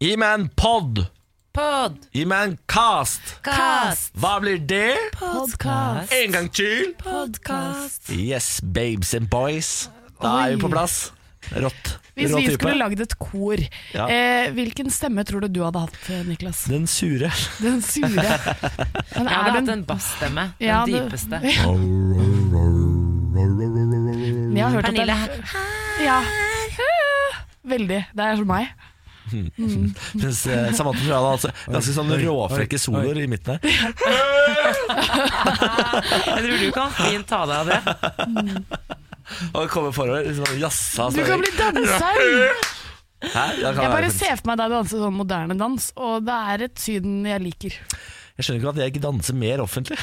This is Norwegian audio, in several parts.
Gi meg en pod. Pod, Gi meg en cast. cast, Hva blir det? podcast, En gang til. podcast. Yes, babes and boys. Da er vi Oi. på plass. Rått. Hvis Rå vi type. skulle lagd et kor, Ja. eh, hvilken stemme tror du du hadde hatt, eh, Niklas? Den sure. Den sure. Men Jeg hadde er hatt den en bassstemme. Den Ja, det- dypeste. Men Jeg har hørt at Pernille den ja. Veldig. Det er som meg. Mens eh, Samantha tror jeg hadde altså ganske sånn råfrekke soloer i midten her. Jeg tror du kan fint ta deg av det. Og kommer forover. Liksom, jassa, Du kan bli danser! Hæ? Ja, det kan Jeg være bare fint. ser for meg deg danse sånn moderne dans, og det er et Syden jeg liker. Jeg skjønner ikke at jeg ikke danser mer offentlig.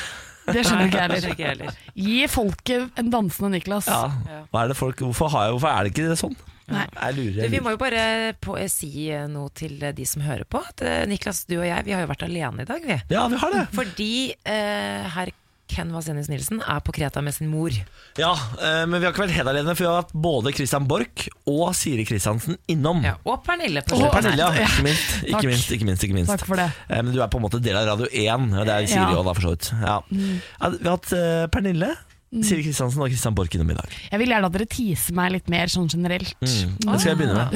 Det skjønner ikke jeg Kanskje heller. ikke heller. Gi folket en dansende Niklas. Ja. Hva er det folk, hvorfor, har jeg, hvorfor er det ikke det sånn? Nei. Jeg lurer. Du, Jeg vi lurer. må jo bare på, eh, si noe til de som hører på. At, eh, Niklas, du og jeg vi har jo vært alene i dag, vi. Ja, vi har det. Fordi eh, herr Ken Vasenius Nilsen er på Kreta med sin mor. Ja, eh, Men vi har ikke vært helt alene, for vi har hatt både Christian Borch og Siri Kristiansen innom. Ja, og Pernille. på Og slutten her. Pernille, ja. ikke minst. Ikke Takk. minst, ikke minst, ikke minst. Takk for det. Eh, Men du er på en måte del av Radio 1, og det er Siri Ja. Mm. òg, da, for så vidt. Ja. Ja, vi har hatt eh, Pernille, Siri Kristiansen og Christian Borch innom i dag. Jeg vil gjerne at dere teaser meg litt mer sånn generelt. Det skal jeg begynne med. Ah.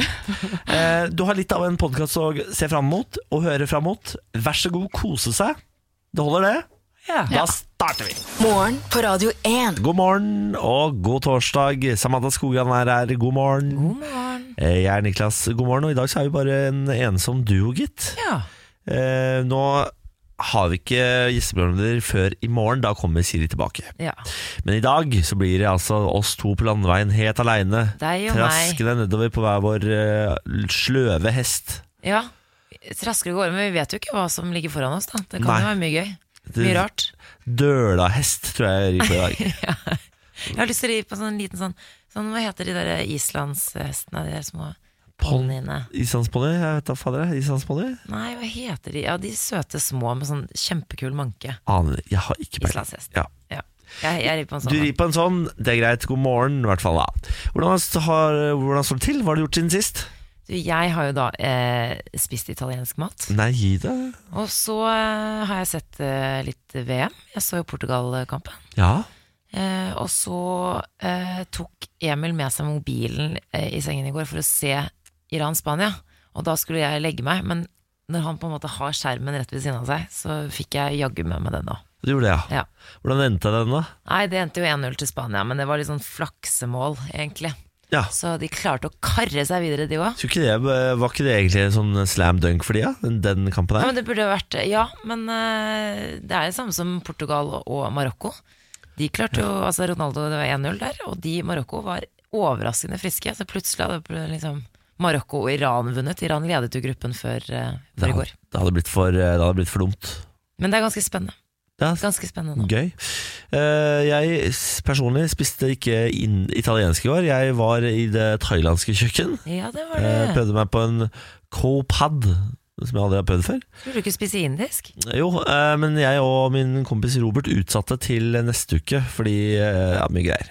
Eh, Du har litt av en podkast å se fram mot og høre fram mot. Vær så god, kose seg. Det holder, det? Ja. Da starter vi. Morgen på Radio 1. God morgen og god torsdag. Samantha Skogran er her. God morgen. God morgen. Eh, Jeg er Niklas. God morgen. Og i dag så er vi bare en ensom duo, gitt. Ja. Eh, nå har vi ikke gjesteprogramleder før i morgen. Da kommer Siri tilbake. ja. Men i dag så blir det altså oss to på landeveien helt aleine. Deg og meg. Traskende nedover på hver vår eh, sløve hest. Ja. Trasker det går, men vi vet jo ikke hva som ligger foran oss. da Det kan Nei. jo være mye gøy. Det- Mye rart. Døla hest, tror jeg jeg rir på i dag. Jeg har lyst til å ri på sånn liten sånn, sånn Hva heter de der islandshestene? De der små Pon- ponniene. Islandsponni? Jeg vet da fader. jeg. Islandsponni? Nei, hva heter de? Ja, de søte små med sånn kjempekul manke. Aner ikke. Jeg har ikke peiling. Islandshest. Ja. Ja. Jeg, jeg rir på en Du sånn. rir på en sånn, det er greit. God morgen, i hvert fall. da Hvordan, har, hvordan står det til? Hva har du gjort siden sist? Du, jeg har jo da eh, spist italiensk mat. Nei, gi deg. Og så eh, har jeg sett eh, litt VM. Jeg så jo Portugal-kampen. Ja. Eh, og så eh, tok Emil med seg mobilen eh, i sengen i går for å se Iran-Spania. Og da skulle jeg legge meg, men når han på en måte har skjermen rett ved siden av seg, så fikk jeg jaggu med meg den da. Du gjorde det, ja. Ja. Hvordan endte den, da? Nei, det endte jo 1-0 til Spania, men det var litt sånn flaksemål, egentlig. Ja. Så de klarte å karre seg videre, de òg. Tror ikke det, eh, var ikke det egentlig en sånn slam dunk for de, ja? Den- den kampen Ja, her? men det burde jo vært Ja, men eh, det er det samme som Portugal og Marokko. De klarte jo, altså Ronaldo det var 1-0 der, og de i Marokko var overraskende friske. Så plutselig hadde det liksom Marokko og Iran vunnet. Iran ledet jo gruppen før, eh, før det, i hadde, går. det, hadde blitt for, eh, det hadde blitt for dumt. Men det er ganske spennende. Ja, Ganske spennende. gøy. Eh, jeg s- personlig spiste ikke inn, italiensk i går. Jeg var i det thailandske kjøkken. Ja, det var Jeg det. prøvde meg på en kopad, som jeg aldri har prøvd før. Skulle du ikke spise indisk? Jo, eh, men jeg og min kompis Robert utsatte til neste uke fordi eh, ja, mye greier.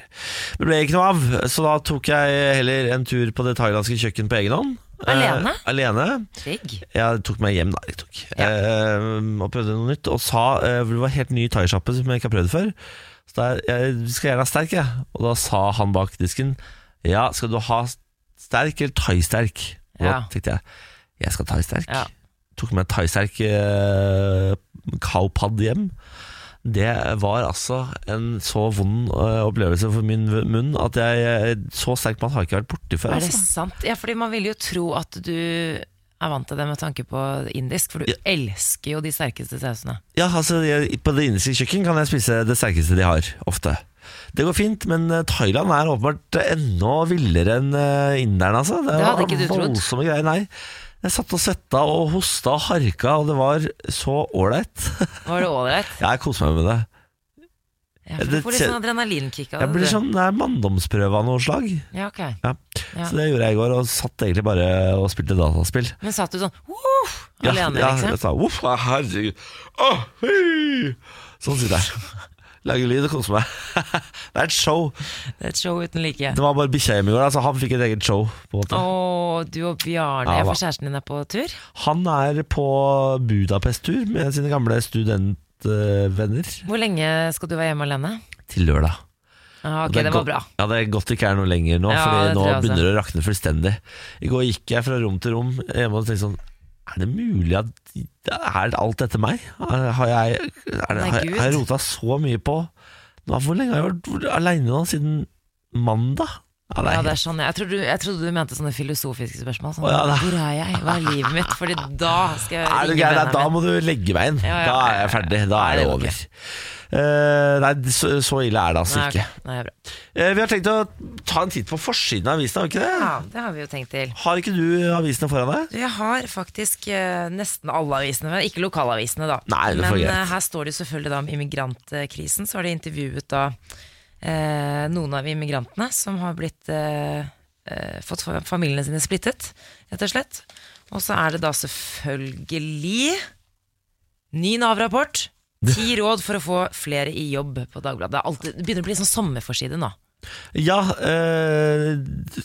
Men det ble ikke noe av, så da tok jeg heller en tur på det thailandske kjøkken på egen hånd. Eh, Alene? alene. Digg. Jeg tok meg hjem da, jeg tok. Ja. Eh, og prøvde noe nytt, og sa eh, for Det var helt ny thaisjappe som jeg ikke har prøvd før. Så da, jeg skal gjerne ha sterk, jeg. Og da sa han bak disken Ja, skal du ha sterk eller thaisterk? Og da Ja. tenkte jeg jeg skal ha thaisterk Ja. tok med thaisterk eh, cowpad hjem. Det var altså en så vond eh, opplevelse for min v- munn at jeg eh, så sterk mat har jeg ikke vært borti før. Er det Altså. sant? Ja, fordi man vil jo tro at du er vant til det med tanke på indisk, for du Ja. elsker jo de sterkeste sausene. Ja, altså jeg, På det indiske kjøkken kan jeg spise det sterkeste de har, ofte. Det går fint, men eh, Thailand er åpenbart enda villere enn eh, inderne, altså. Det hadde var ikke du trodd. Voldsomme greier, nei. Jeg satt og svetta og hosta og harka, og det var så ålreit. Var det ålreit? Jeg koser meg med det. Ja, for du Det får litt kjen- sånn adrenalinkick av Jeg blir det. sånn, Det er manndomsprøve av noe slag. Ja, ok. Ja. Ja. Så det gjorde jeg i går, og satt egentlig bare og spilte dataspill. Men satt du sånn «Woof», alene, ja, liksom? Jeg sa, Uff, herregud. Å, hei! Sånn sitter jeg. Lage lyd og kose meg. det er et show. Det er et show uten like. Det var bare bikkja hjemme i går, da, så han fikk et eget show. på en måte Å, du og Bjarne, Ja, da. ja, for kjæresten din er på tur? Han er på Budapest-tur med sine gamle studentvenner Hvor lenge skal du være hjemme alene? til lørdag. Ah, Og ok, det er var godt- bra. Ja, Det er godt det ikke er noe lenger nå, Ja, Fordi det nå tror jeg også. begynner det å rakne fullstendig. I går gikk jeg fra rom til rom hjemme og tenkte sånn Er det mulig at Er alt dette meg? Har jeg, er det, Nei, har jeg, Gud. har jeg rota så mye på nå, Hvor lenge har jeg vært aleine nå? Siden mandag? Ja, Ja, det helt- er sånn, jeg, trodde, jeg trodde du mente sånne filosofiske spørsmål. Sånn, Å, ja, da. Hvor er jeg? Hva er livet mitt? Fordi da skal jeg Er du ringe gæren? Nei, Da vennene mine. må du legge meg inn. Ja, ja, Da er jeg ja, ja. ferdig. Da Nei, er det det går over. Eh, nei, så, så ille er det altså Nei, ok. ikke. Nei, det er bra. Eh, vi har tenkt å ta en titt på forsiden av avisen, har vi ikke det? Ja, det har vi jo tenkt til. Har ikke du avisene foran deg? Du, Jeg har faktisk eh, nesten alle avisene, men ikke lokalavisene, da. Nei, det får men greit. eh, her står det jo selvfølgelig da om immigrantkrisen. Så har de intervjuet da eh, noen av immigrantene som har blitt eh, eh, fått fa- familiene sine splittet, rett og slett. Og så er det da selvfølgelig ny Nav-rapport. Ti råd for å få flere i jobb på Dagbladet. Det, er alltid, det begynner å bli sånn sommerforside nå. Ja, eh,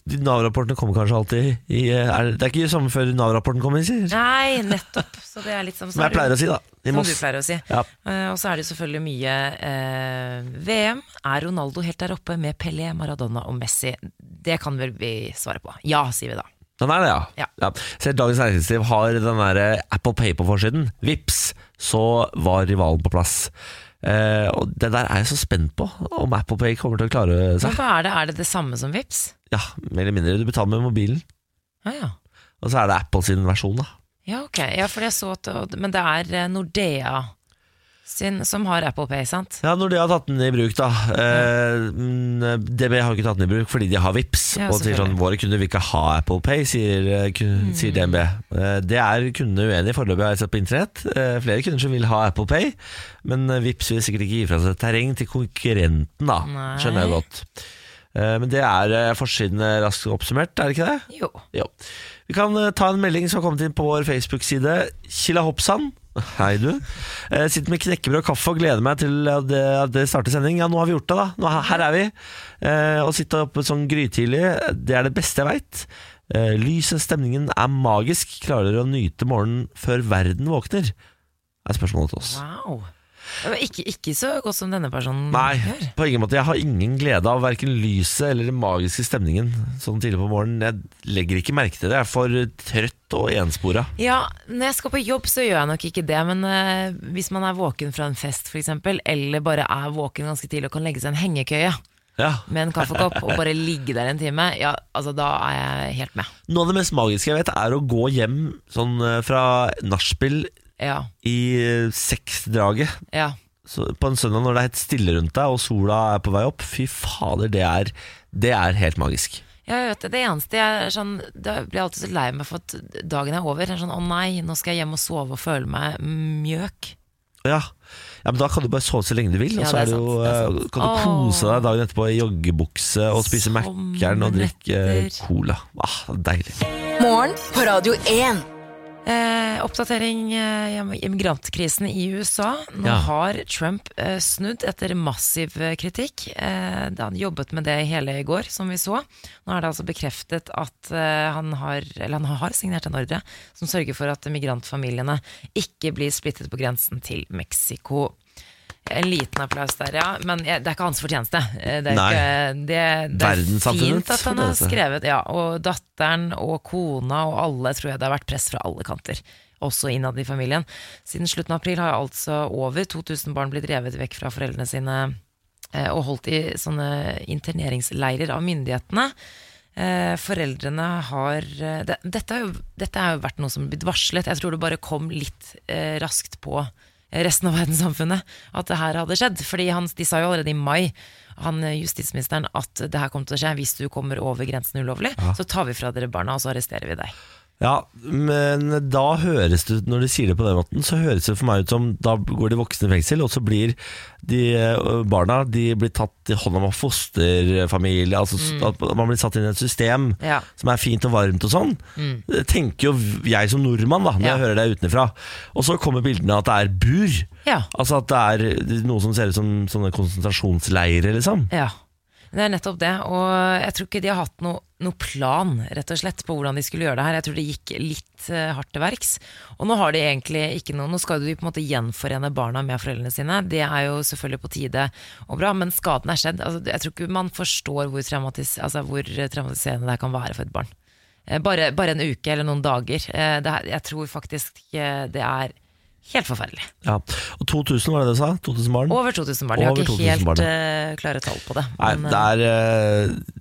de Nav-rapportene kommer kanskje alltid i eh, er, Det er ikke sommer før Nav-rapporten kommer, sier Nei, nettopp. Så det er litt som Som jeg pleier å si, da. I Som du Moss. pleier å si. Ja. Eh, og så er det jo selvfølgelig mye eh, VM. Er Ronaldo helt der oppe med Pelé, Maradona og Messi? Det kan vel vi svare på. Ja, sier vi da. Den er det, ja. Ja. Selv Dagens Næringsliv har den der eh, Apple Pay på forsiden. Vips, så var rivalen på plass. Eh, og Det der er jeg så spent på, om Apple Pay kommer til å klare Men seg. hva er det? Er det det samme som Vips? Ja, Mer eller mindre. Du betaler med mobilen, Ah, ja. og så er det Apple sin versjon. da ja, ok. Ja, for jeg så at Men det er eh, Nordea sin som har Apple Pay, sant? Ja, Når de har tatt den i bruk, da. Eh, men DB har ikke tatt den i bruk fordi de har VIPs Ja, Og sier sånn selvfølgelig. Mm. Våre kunder vil ikke ha Apple Pay, sier, eh, kun- sier DNB. Eh, det er kundene uenige i foreløpig, har jeg sett på internett. Eh, flere kunder som vil ha Apple Pay, men eh, VIPs vil sikkert ikke gi fra seg terreng til konkurrenten, da. Nei. Skjønner jeg godt. Eh, men det er eh, forsiden eh, raskt oppsummert, er det ikke det? Jo. Jo. Vi kan eh, ta en melding som har kommet inn på vår Facebook-side. Killa Hoppsan. Hei, du. Eh, sitter med knekkebrød og kaffe og gleder meg til at det, at det starter sending. Ja, nå har vi gjort det, da. Nå, her er vi. Eh, å sitte oppe sånn grytidlig, det er det beste jeg veit. Eh, lyset, stemningen er magisk. Klarer å nyte morgenen før verden våkner? er spørsmålet til oss. Wow. Det var Ikke, ikke så godt som denne personen Nei, gjør. på ingen måte. Jeg har ingen glede av verken lyset eller den magiske stemningen sånn tidlig på morgenen. Jeg legger ikke merke til det. Jeg er for trøtt og enspora. Ja, når jeg skal på jobb så gjør jeg nok ikke det, men eh, hvis man er våken fra en fest f.eks., eller bare er våken ganske tidlig og kan legge seg i en hengekøye Ja. med en kaffekopp og bare ligge der en time, ja, altså da er jeg helt med. Noe av det mest magiske jeg vet, er å gå hjem sånn eh, fra nachspiel Ja, i eh, seksdraget ja. så på en søndag når det er helt stille rundt deg og sola er på vei opp. Fy fader, det er, det er helt magisk. Ja, jeg vet det. Det eneste jeg er sånn Da blir jeg alltid så lei meg for at dagen er over. Jeg er sånn, Å nei, nå skal jeg hjem og sove og føle meg mjøk. Ja. ja, men da kan du bare sove så lenge du vil, og Ja, så det er er det jo, sant, det er sant. eh, kan du kose deg dagen etterpå i joggebukse og spise Mækkern og drikke eh, Sommernetter. cola. Ah, deilig. Morgen på Radio 1. Eh, oppdatering eh, om immigrantkrisen i USA. Nå Ja. har Trump eh, snudd etter massiv eh, kritikk. Eh, da han jobbet med det hele i går, som vi så. Nå er det altså bekreftet at eh, han, har, eller han har signert en ordre som sørger for at migrantfamiliene ikke blir splittet på grensen til Mexico. En liten applaus der, ja. Men eh, det er ikke hans fortjeneste. Eh, Det er, Nei. ikke, det, det er Verdenssamfunnets fint at han har fortjeneste. skrevet. Ja, og datteren og kona og alle tror jeg det har vært press fra alle kanter. Også innad i familien. Siden slutten av april har altså over 2000 barn blitt revet vekk fra foreldrene sine eh, og holdt i sånne interneringsleirer av myndighetene. Eh, foreldrene har eh, det, dette, har jo, dette har jo vært noe som har blitt varslet. Jeg tror det bare kom litt eh, raskt på eh, resten av verdenssamfunnet at det her hadde skjedd. Fordi han, de sa jo allerede i mai, han eh, justisministeren, at det her kommer til å skje hvis du kommer over grensen ulovlig. Så tar vi fra dere barna, og så arresterer vi deg. Ja, men da høres det ut, når de sier det på den måten, så høres det for meg ut som da går de voksne i fengsel, og så blir de eh, barna de blir tatt i hånd om av fosterfamilie, altså s- at man blir satt inn i et system Mm. Ja. Mm. som er fint og varmt og sånn. Det tenker jo jeg som nordmann, da, når Ja. jeg hører det utenfra. Og så kommer bildene av at det er bur. Ja. Altså at det er noe som ser ut som sånne konsentrasjonsleirer, liksom. Ja, det er nettopp det. Og jeg tror ikke de har hatt noe, noe plan rett og slett på hvordan de skulle gjøre det her. Jeg tror det gikk litt eh, hardt til verks. Og nå har de egentlig ikke noe Nå skal de på en måte gjenforene barna med foreldrene sine. Det er jo selvfølgelig på tide og bra, men skaden er skjedd. Altså, jeg tror ikke man forstår hvor, traumatis altså, hvor traumatiserende det her kan være for et barn. Eh, Bare, bare en uke eller noen dager. Eh, Det her, jeg tror faktisk eh, det er helt forferdelig. Ja. Og 2000 var det det du sa? 2000 barn? Over 2000 barn. De har Over ikke 2000 helt barn, ja. eh, klare tall på det. Nei, men, eh, det er eh,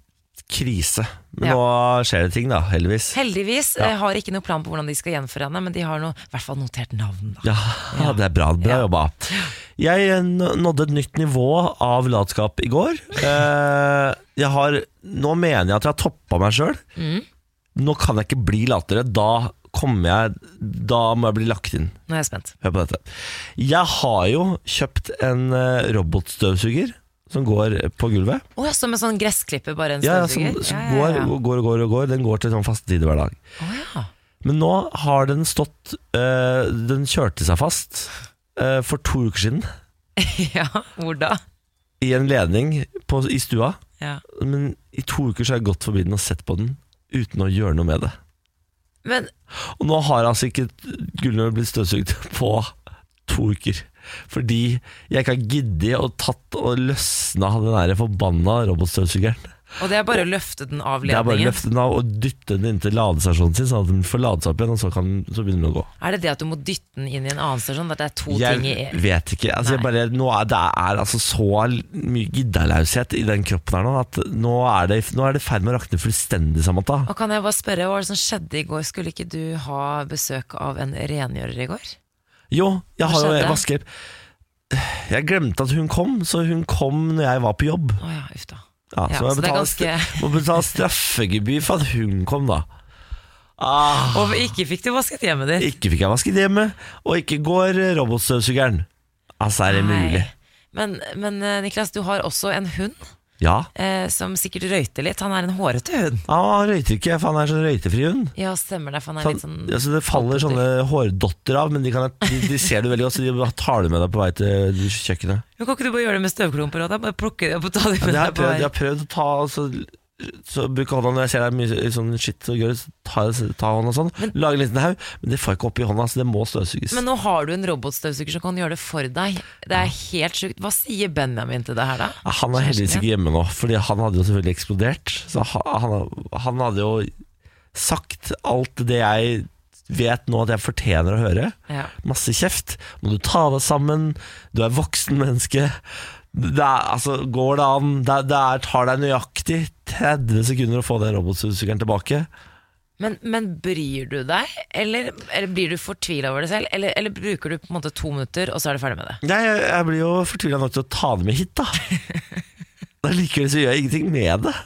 krise. Men Ja. nå skjer det ting, da, heldigvis. Heldigvis Ja. eh, har ikke noe plan på hvordan de skal gjenforene, men de har noe, i hvert fall notert navn. Da. Ja, det er bra. Bra Ja. jobba. Jeg eh, n- nådde et nytt nivå av latskap i går. Eh, Jeg har, nå mener jeg at jeg har toppa meg sjøl. Mm. Nå kan jeg ikke bli latere. Da kommer jeg Da må jeg bli lagt inn. Nå er jeg spent. Hør på dette. Jeg har jo kjøpt en eh, robotstøvsuger som går på gulvet. Å, ja, som en sånn gressklipper, bare en Ja, ja, som, støvsuger? som ja, går ja, ja. og går og går. og går Den går til sånn faste tider hver dag. Å, ja. Men nå har den stått eh, Den kjørte seg fast eh, for to uker siden ja, hvor da? i en ledning på, i stua. Ja. Men i to uker så har jeg gått forbi den og sett på den uten å gjøre noe med det. Men Og nå har altså ikke Gullnår blitt støvsugd på to uker. Fordi jeg ikke har giddet å tatt og løsna den der forbanna robotstøvsugeren. Og det er bare å løfte den av Det er bare å ledningen? Er, løfte den av og dytte den inntil ladestasjonen sin, sånn at den får lade seg opp igjen, og så, kan, så begynner den å gå. det det at du må dytte den inn i en annen stasjon? At det er to Jeg ting i vet ikke. Altså, jeg Nei. bare, nå er, det er altså så mye giddalaushet i den kroppen her nå at nå er det nå er det i ferd med å rakne fullstendig, Samantha. Og kan jeg bare spørre, Hva var det som skjedde i går? Skulle ikke du ha besøk av en rengjører i går? Jo, jeg Hva har jo skjedde? vaskehjelp. Jeg glemte at hun kom, så hun kom når jeg var på jobb. Å ja, uff da. Ja, Ja, så jeg så det er betaler ganske- stra- må betale straffegebyr for at hun kom, da. Ah, Og ikke fikk du vasket hjemmet ditt? ikke fikk jeg vasket hjemme, og ikke går eh, robotstøvsugeren. Altså, er det Nei. mulig? Men, men eh, Niklas, du har også en hund Ja. eh, som sikkert røyter litt. Han er en hårete hund. Ah, han røyter ikke, for han er sånn røytefri hund. Ja, stemmer det, for han er Sånn, litt sånn altså det faller sånne hårdotter av, men de, kan, de, de ser du veldig godt, så de tar det med deg på vei til kjøkkenet. Men Kan ikke du bare gjøre det med støvklumper òg, da? Bare plukke det opp og ta det Ja, med de, har deg på prøvd, vei. de har prøvd å ta altså, så bruke hånda når jeg ser det er mye sånn shit og gørr, så tar jeg ta hånda sånn. Lage en liten haug, men det får jeg ikke opp i hånda, så det må støvsuges. Men nå har du en robotstøvsuger som kan gjøre det for deg. Det er helt sjukt. Hva sier Benjamin til det her, da? Ja, han er heldigvis ikke hjemme nå, Fordi han hadde jo selvfølgelig eksplodert. Så ha- han, han hadde jo sagt alt det jeg vet nå at jeg fortjener å høre. Ja. Masse kjeft. Må du ta deg sammen? Du er voksen menneske. Det er, altså, går det an? Det, det er, tar deg nøyaktig 30 sekunder å få den robotstøvsugeren tilbake. Men, men bryr du deg, eller, eller blir du fortvila over det selv? Eller, eller bruker du på en måte to minutter, og så er du ferdig med det? Nei, jeg, jeg blir jo fortvila nok til å ta det med hit, da. Da Likevel så gjør jeg ingenting med det.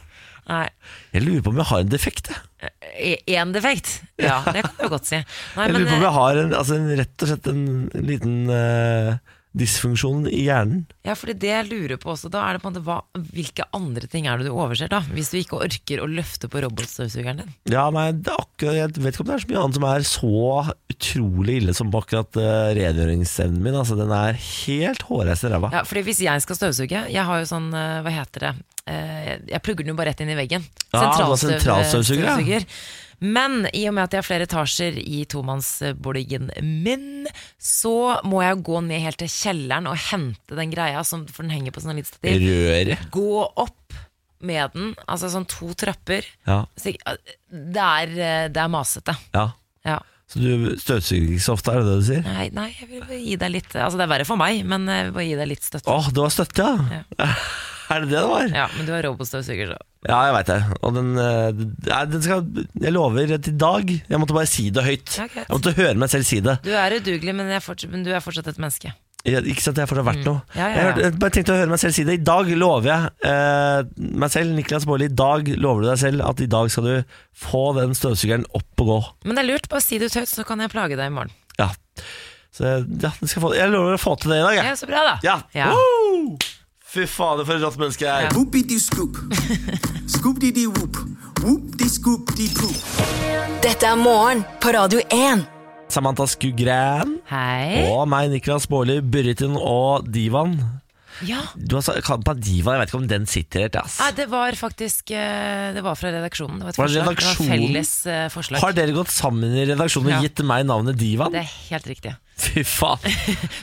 Nei. Jeg lurer på om jeg har en defekt. jeg. Én E, defekt? Ja, det kan du godt si. Nei, Jeg men, lurer på om eh, jeg har en, altså en, rett og slett en, en liten eh, dysfunksjon i hjernen. ja, fordi det jeg lurer på også, da er det på en måte hva, hvilke andre ting er det du overser, da? Hvis du ikke orker å løfte på robotstøvsugeren din. Ja, nei, det er akkurat, Jeg vet ikke om det er så mye annet som er så utrolig ille som akkurat eh, rengjøringsevnen min. Altså, Den er helt hårreist i ræva. Ja, fordi hvis jeg skal støvsuge Jeg har jo sånn, eh, hva heter det Eh, Jeg plugger den jo bare rett inn i veggen Ja, Ah, du har Sentralstøv- sentralstøvsuger, ja. støvsuger. Men i og med at jeg har flere etasjer i tomannsboligen min Så må jeg gå ned helt til kjelleren Og hente den greia som, For den henger på sånn litt stativ Røret. Gå opp med den Altså sånn to trapper Ja, Så jeg- Det er, eh, det er masete ja. ja. Så du støvsuger ikke så ofte, er det det du sier? nei, nei, jeg vil bare gi deg litt Altså det er verre for meg, men jeg vil bare gi deg litt støtte Å, det var støtte, ja! er det det det var? Ja, Ja, men du har robotstøvsuger så jeg veit det. Og den, eh, nei, den skal Jeg lover at i dag Jeg måtte bare si det høyt. Ja, greit. Jeg måtte høre meg selv si det. Du er udugelig, men, jeg forts- men du er fortsatt et menneske. Ja, Ikke sant, det har fortsatt vært noe. Mm. Ja, ja, Jeg, ja. hørte, jeg bare tenkte å høre meg selv si det. I dag lover jeg eh, meg selv, Niklas Baarli, i dag lover du deg selv at i dag skal du få den støvsugeren opp og gå. Men det er lurt, bare si det ut høyt, så kan jeg plage deg i morgen. Ja. Så ja, det skal jeg få, jeg lover å få til det i dag, Ja, jeg. så bra, da. Ja. Ja. Woo! Fy fader, for et rått menneske jeg er. Whoopity scoop. Scoop dee dee whoop. Whoop dee scoop dee poop. Dette er morgen på Radio 1. Samantha Skugran Hei. og meg, Niklas Baarli, Burritin og Divan. Ja. Du har sa- kalt meg Divan, jeg vet ikke om den sitter helt, ass. Nei, Ah, det var faktisk eh, Det var fra redaksjonen. Det var et Var det forslag. Det var redaksjonen? felles eh, forslag. Har dere gått sammen i redaksjonen Ja. og gitt meg navnet Divan? Det er helt riktig. Fy faen.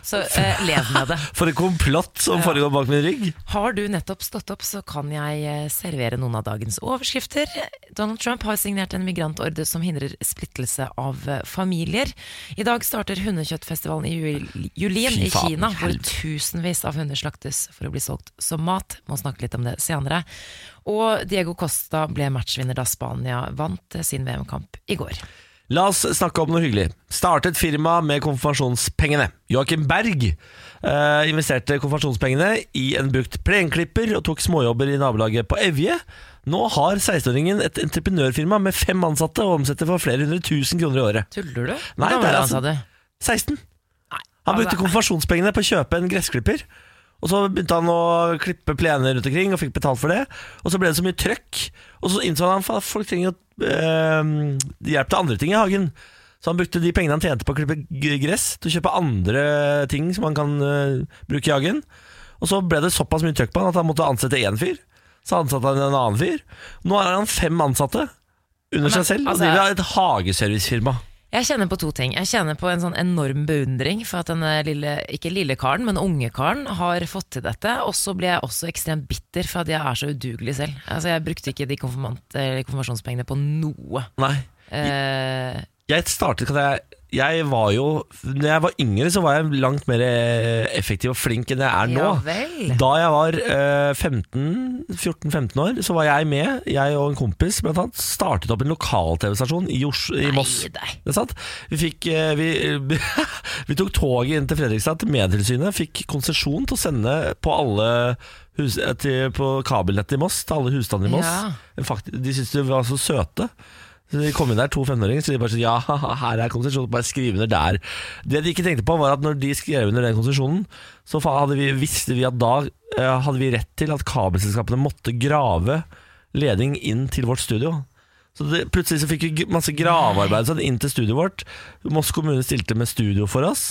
Så eh, lev med det. For et komplott som foregår bak min rygg. Har du nettopp stått opp, så kan jeg eh, servere noen av dagens overskrifter. Donald Trump har signert en migrantordre som hindrer splittelse av eh, familier. I dag starter hundekjøttfestivalen i jul- Julin Fy i faen, Kina, hvor helvete. tusenvis av hunder slaktes for å bli solgt som mat. Må snakke litt om det senere. Og Diego Costa ble matchvinner da Spania vant eh, sin VM-kamp i går. La oss snakke om noe hyggelig. Startet firma med konfirmasjonspengene. Joakim Berg eh, investerte konfirmasjonspengene i en brukt plenklipper og tok småjobber i nabolaget på Evje. Nå har 16-åringen et entreprenørfirma med fem ansatte og omsetter for flere hundre tusen kroner i året. Tuller du? Nei, det Hvor er gammel er han, altså- sa du? 16! Han brukte altså- konfirmasjonspengene på å kjøpe en gressklipper. Og så begynte han å klippe plener rundt omkring og fikk betalt for det. Og så ble det så mye trøkk. Og så innså han at folk trenger jo eh, hjelp til andre ting i hagen. Så han brukte de pengene han tjente på å klippe g- gress, til å kjøpe andre ting som han kan eh, bruke i hagen. Og så ble det såpass mye trøkk på han at han måtte ansette én fyr. Så ansatte han en annen fyr. Nå har han fem ansatte under seg selv. altså- og driver et hageservicefirma. Jeg kjenner på to ting. Jeg kjenner på en sånn enorm beundring for at denne lille, ikke lille karen, men unge karen har fått til dette. Og så blir jeg også ekstremt bitter for at jeg er så udugelig selv. Altså, jeg brukte ikke de konfirmant- eller konfirmasjonspengene på noe. Nei. Eh, jeg startet kan jeg, jeg var jo Når jeg var yngre så var jeg langt mer eh, effektiv og flink enn jeg er nå Ja vel. Da jeg var eh, 15 14-15 år Så var jeg med Jeg og en kompis blant annet Startet opp en lokal tv-stasjon i, Os- i Moss Nei, nei. Det er sant Vi, fikk, eh, vi, vi tok toget inn til Fredrikstad Til medtilsynet Fikk konsesjon til å sende på alle hus, eh, til, På kabelnettet i Moss Til alle husstandene i Moss Ja. En fakt- De syntes de var så søte så de kom inn der, to 15-åringer, så de bare sa ja, haha, her er konsesjonen, bare skriv under der. Det de ikke tenkte på, var at når de skrev under den konsesjonen, så fa- hadde vi, visste vi at da eh, hadde vi rett til at kabelselskapene måtte grave ledning inn til vårt studio. Så det, plutselig så fikk vi g- masse gravearbeid og sånn, inn til studioet vårt. Moss kommune stilte med studio for oss.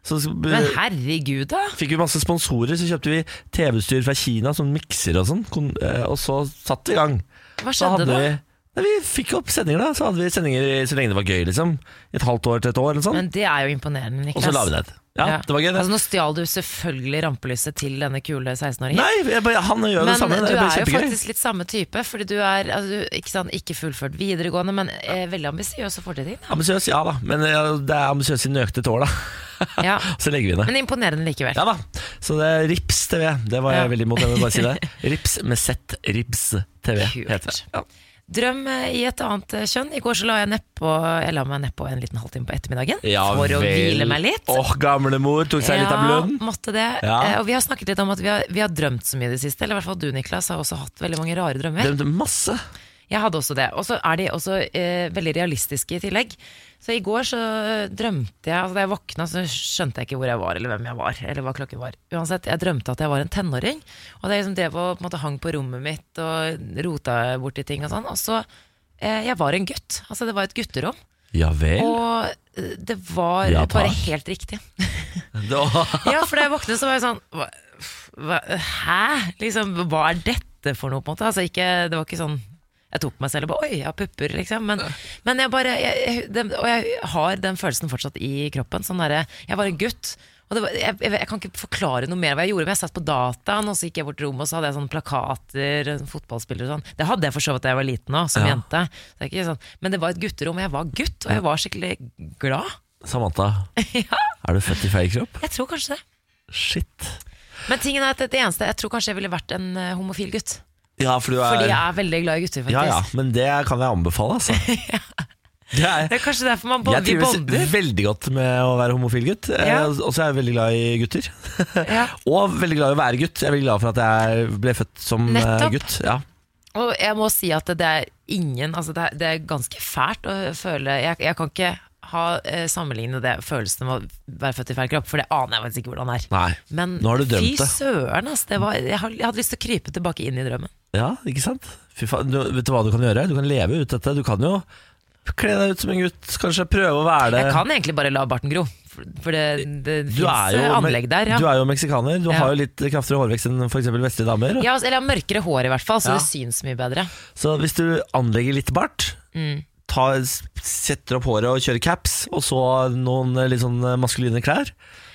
Så s- b- Men herregud, da. fikk vi masse sponsorer, så kjøpte vi TV-styr fra Kina, sånn mikser og sånn, kon- eh, og så satt vi i gang. Hva Da skjedde hadde da? vi, Nei, vi fikk opp sendinger, da. Så hadde vi sendinger i- så lenge det var gøy, liksom. I Et halvt år til et år, eller sånn. Men det er jo imponerende, Og Niklas. så la vi ned. Ja, Ja. det var gøy, det. Altså, nå stjal du selvfølgelig rampelyset til denne kule 16-åringen. Nei, jeg bare, han gjør det Men samme. Det du er bare er jo kjempegøy. faktisk litt samme type, fordi du er altså, du, ikke, sant, ikke fullført videregående, men eh, veldig ambisiøs og får det til. Ambisiøs, ja da. Men ja, det er ambisiøs i nøkte et år, da. da. Ja. Så legger vi inn det. Men imponerende likevel. Ja da. Så det er Rips TV. Det var jeg Ja. veldig imot, jeg vil bare si det. Rips med Z. Rips TV Kult. heter det. Ja. Drøm eh, i et annet eh, kjønn. I går så la jeg, nedpå, jeg la meg nedpå en liten halvtime på ettermiddagen Ja for å vel. hvile meg litt. Åh, gamlemor tok seg litt av blønn. måtte det. Ja. Eh, og vi har snakket litt om at vi har, vi har drømt så mye i det siste. Eller i hvert fall du, Niklas, har også hatt veldig mange rare drømmer. Drømte masse. Jeg hadde også det. Og så er de også eh, veldig realistiske i tillegg. Så i går så drømte jeg altså Da jeg våkna, så skjønte jeg ikke hvor jeg var, eller hvem jeg var. Eller hva klokken var. Uansett, jeg drømte at jeg var en tenåring. Og det liksom drev og på en måte, hang på rommet mitt og rota borti ting og sånn. Og så eh, Jeg var en gutt. Altså, det var et gutterom. Ja vel. Og eh, det var Ja, takk. bare helt riktig. Da- Ja, for da jeg våknet så var jeg sånn hva, hva, Hæ? Liksom, hva er dette for noe, på en måte? Altså, ikke, det var ikke sånn jeg tok på meg selv og bare Oi, jeg har pupper, liksom. Men, men jeg bare jeg, jeg, den, Og jeg har den følelsen fortsatt i kroppen. Sånn derre Jeg var en gutt. Og det var, jeg, jeg, jeg kan ikke forklare noe mer hva jeg gjorde, men jeg satt på dataen, og så gikk jeg bort til rommet, og så hadde jeg sånne plakater, fotballspillere og sånn. Det hadde jeg for så vidt da jeg var liten òg, som Ja. jente. Så det er ikke sånn. Men det var et gutterom, og jeg var gutt, og jeg var skikkelig glad. Samantha, ja, er du født i feil kropp? jeg tror kanskje det. Shit. Men tingen er at det eneste Jeg tror kanskje jeg ville vært en eh, homofil gutt. Ja, for du er Fordi jeg er veldig glad i gutter, faktisk. Ja, ja, men det kan jeg anbefale, altså. Det er, Det er kanskje derfor man bo- jeg vi trives bonder. veldig godt med å være homofil gutt. Eh, Ja. Og så er jeg veldig glad i gutter. Ja. Og veldig glad i å være gutt. Jeg er veldig glad for at jeg ble født som eh, Nettopp. gutt. Ja. Og jeg må si at det er ingen Altså det er, det er ganske fælt å føle Jeg, jeg kan ikke ha eh, sammenligne det følelsen av å være født i feil kropp, for det aner jeg faktisk ikke hvordan det er. Nei. Men Nå har du dømt fy det. søren, ass, det var, jeg, har- jeg hadde lyst til å krype tilbake inn i drømmen. Ja, ikke sant? Fy faen, du, vet du hva du kan gjøre? Du kan leve ut dette. Du kan jo kle deg ut som en gutt, kanskje prøve å være det. Jeg kan egentlig bare la barten gro, for for det, det Du er, fins jo, eh, anlegg der. Ja. du er jo meksikaner. Du Ja. har jo litt kraftigere hårvekst enn f.eks. vestlige damer. Ja, altså, eller jeg har mørkere hår i hvert fall, så Ja. det syns mye bedre. Så hvis du anlegger litt bart, Mm. ta, s- setter opp håret og kjører caps, og så noen eh, litt sånn eh, maskuline klær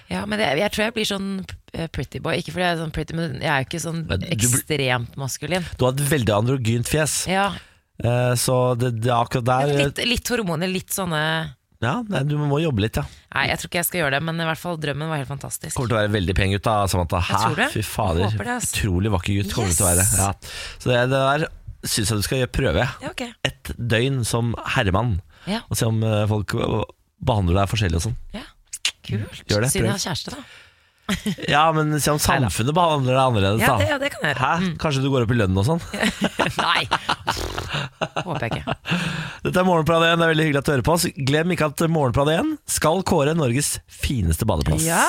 Ja, men jeg, jeg tror jeg blir sånn eh, pretty boy. Ikke fordi jeg er sånn pretty, men jeg er jo ikke sånn Men du blir- ekstremt maskulin. Du har et veldig androgynt fjes, Ja, Eh, så det, det er akkurat der eh, litt, litt hormoner, litt sånne Ja, nei, du må jobbe litt, ja. Nei, jeg tror ikke jeg skal gjøre det, men i hvert fall drømmen var helt fantastisk. Kommer til å være veldig pen gutt, da, Samantha. Hæ? tror det. Fy fader. Håper det, ass. Utrolig vakker gutt kommer du til å være. Yes! Ja. Så det, det der syns jeg du skal gjøre prøve. Ja, ok. Et døgn som herremann, Ja, og se om eh, folk eh, behandler deg forskjellig og sånn. ja. Kult. Gjør det, Siden jeg prøv. har kjæreste, da. Ja, men se om samfunnet behandler deg annerledes, Ja, da. det, ja, det Mm. kan jeg gjøre. Hæ? Kanskje du går opp i lønn og sånn? Nei! Håper jeg ikke. Dette er Morgenplan 1, det er veldig hyggelig at du hører på oss. Glem ikke at Morgenplan 1 skal kåre Norges fineste badeplass. Ja.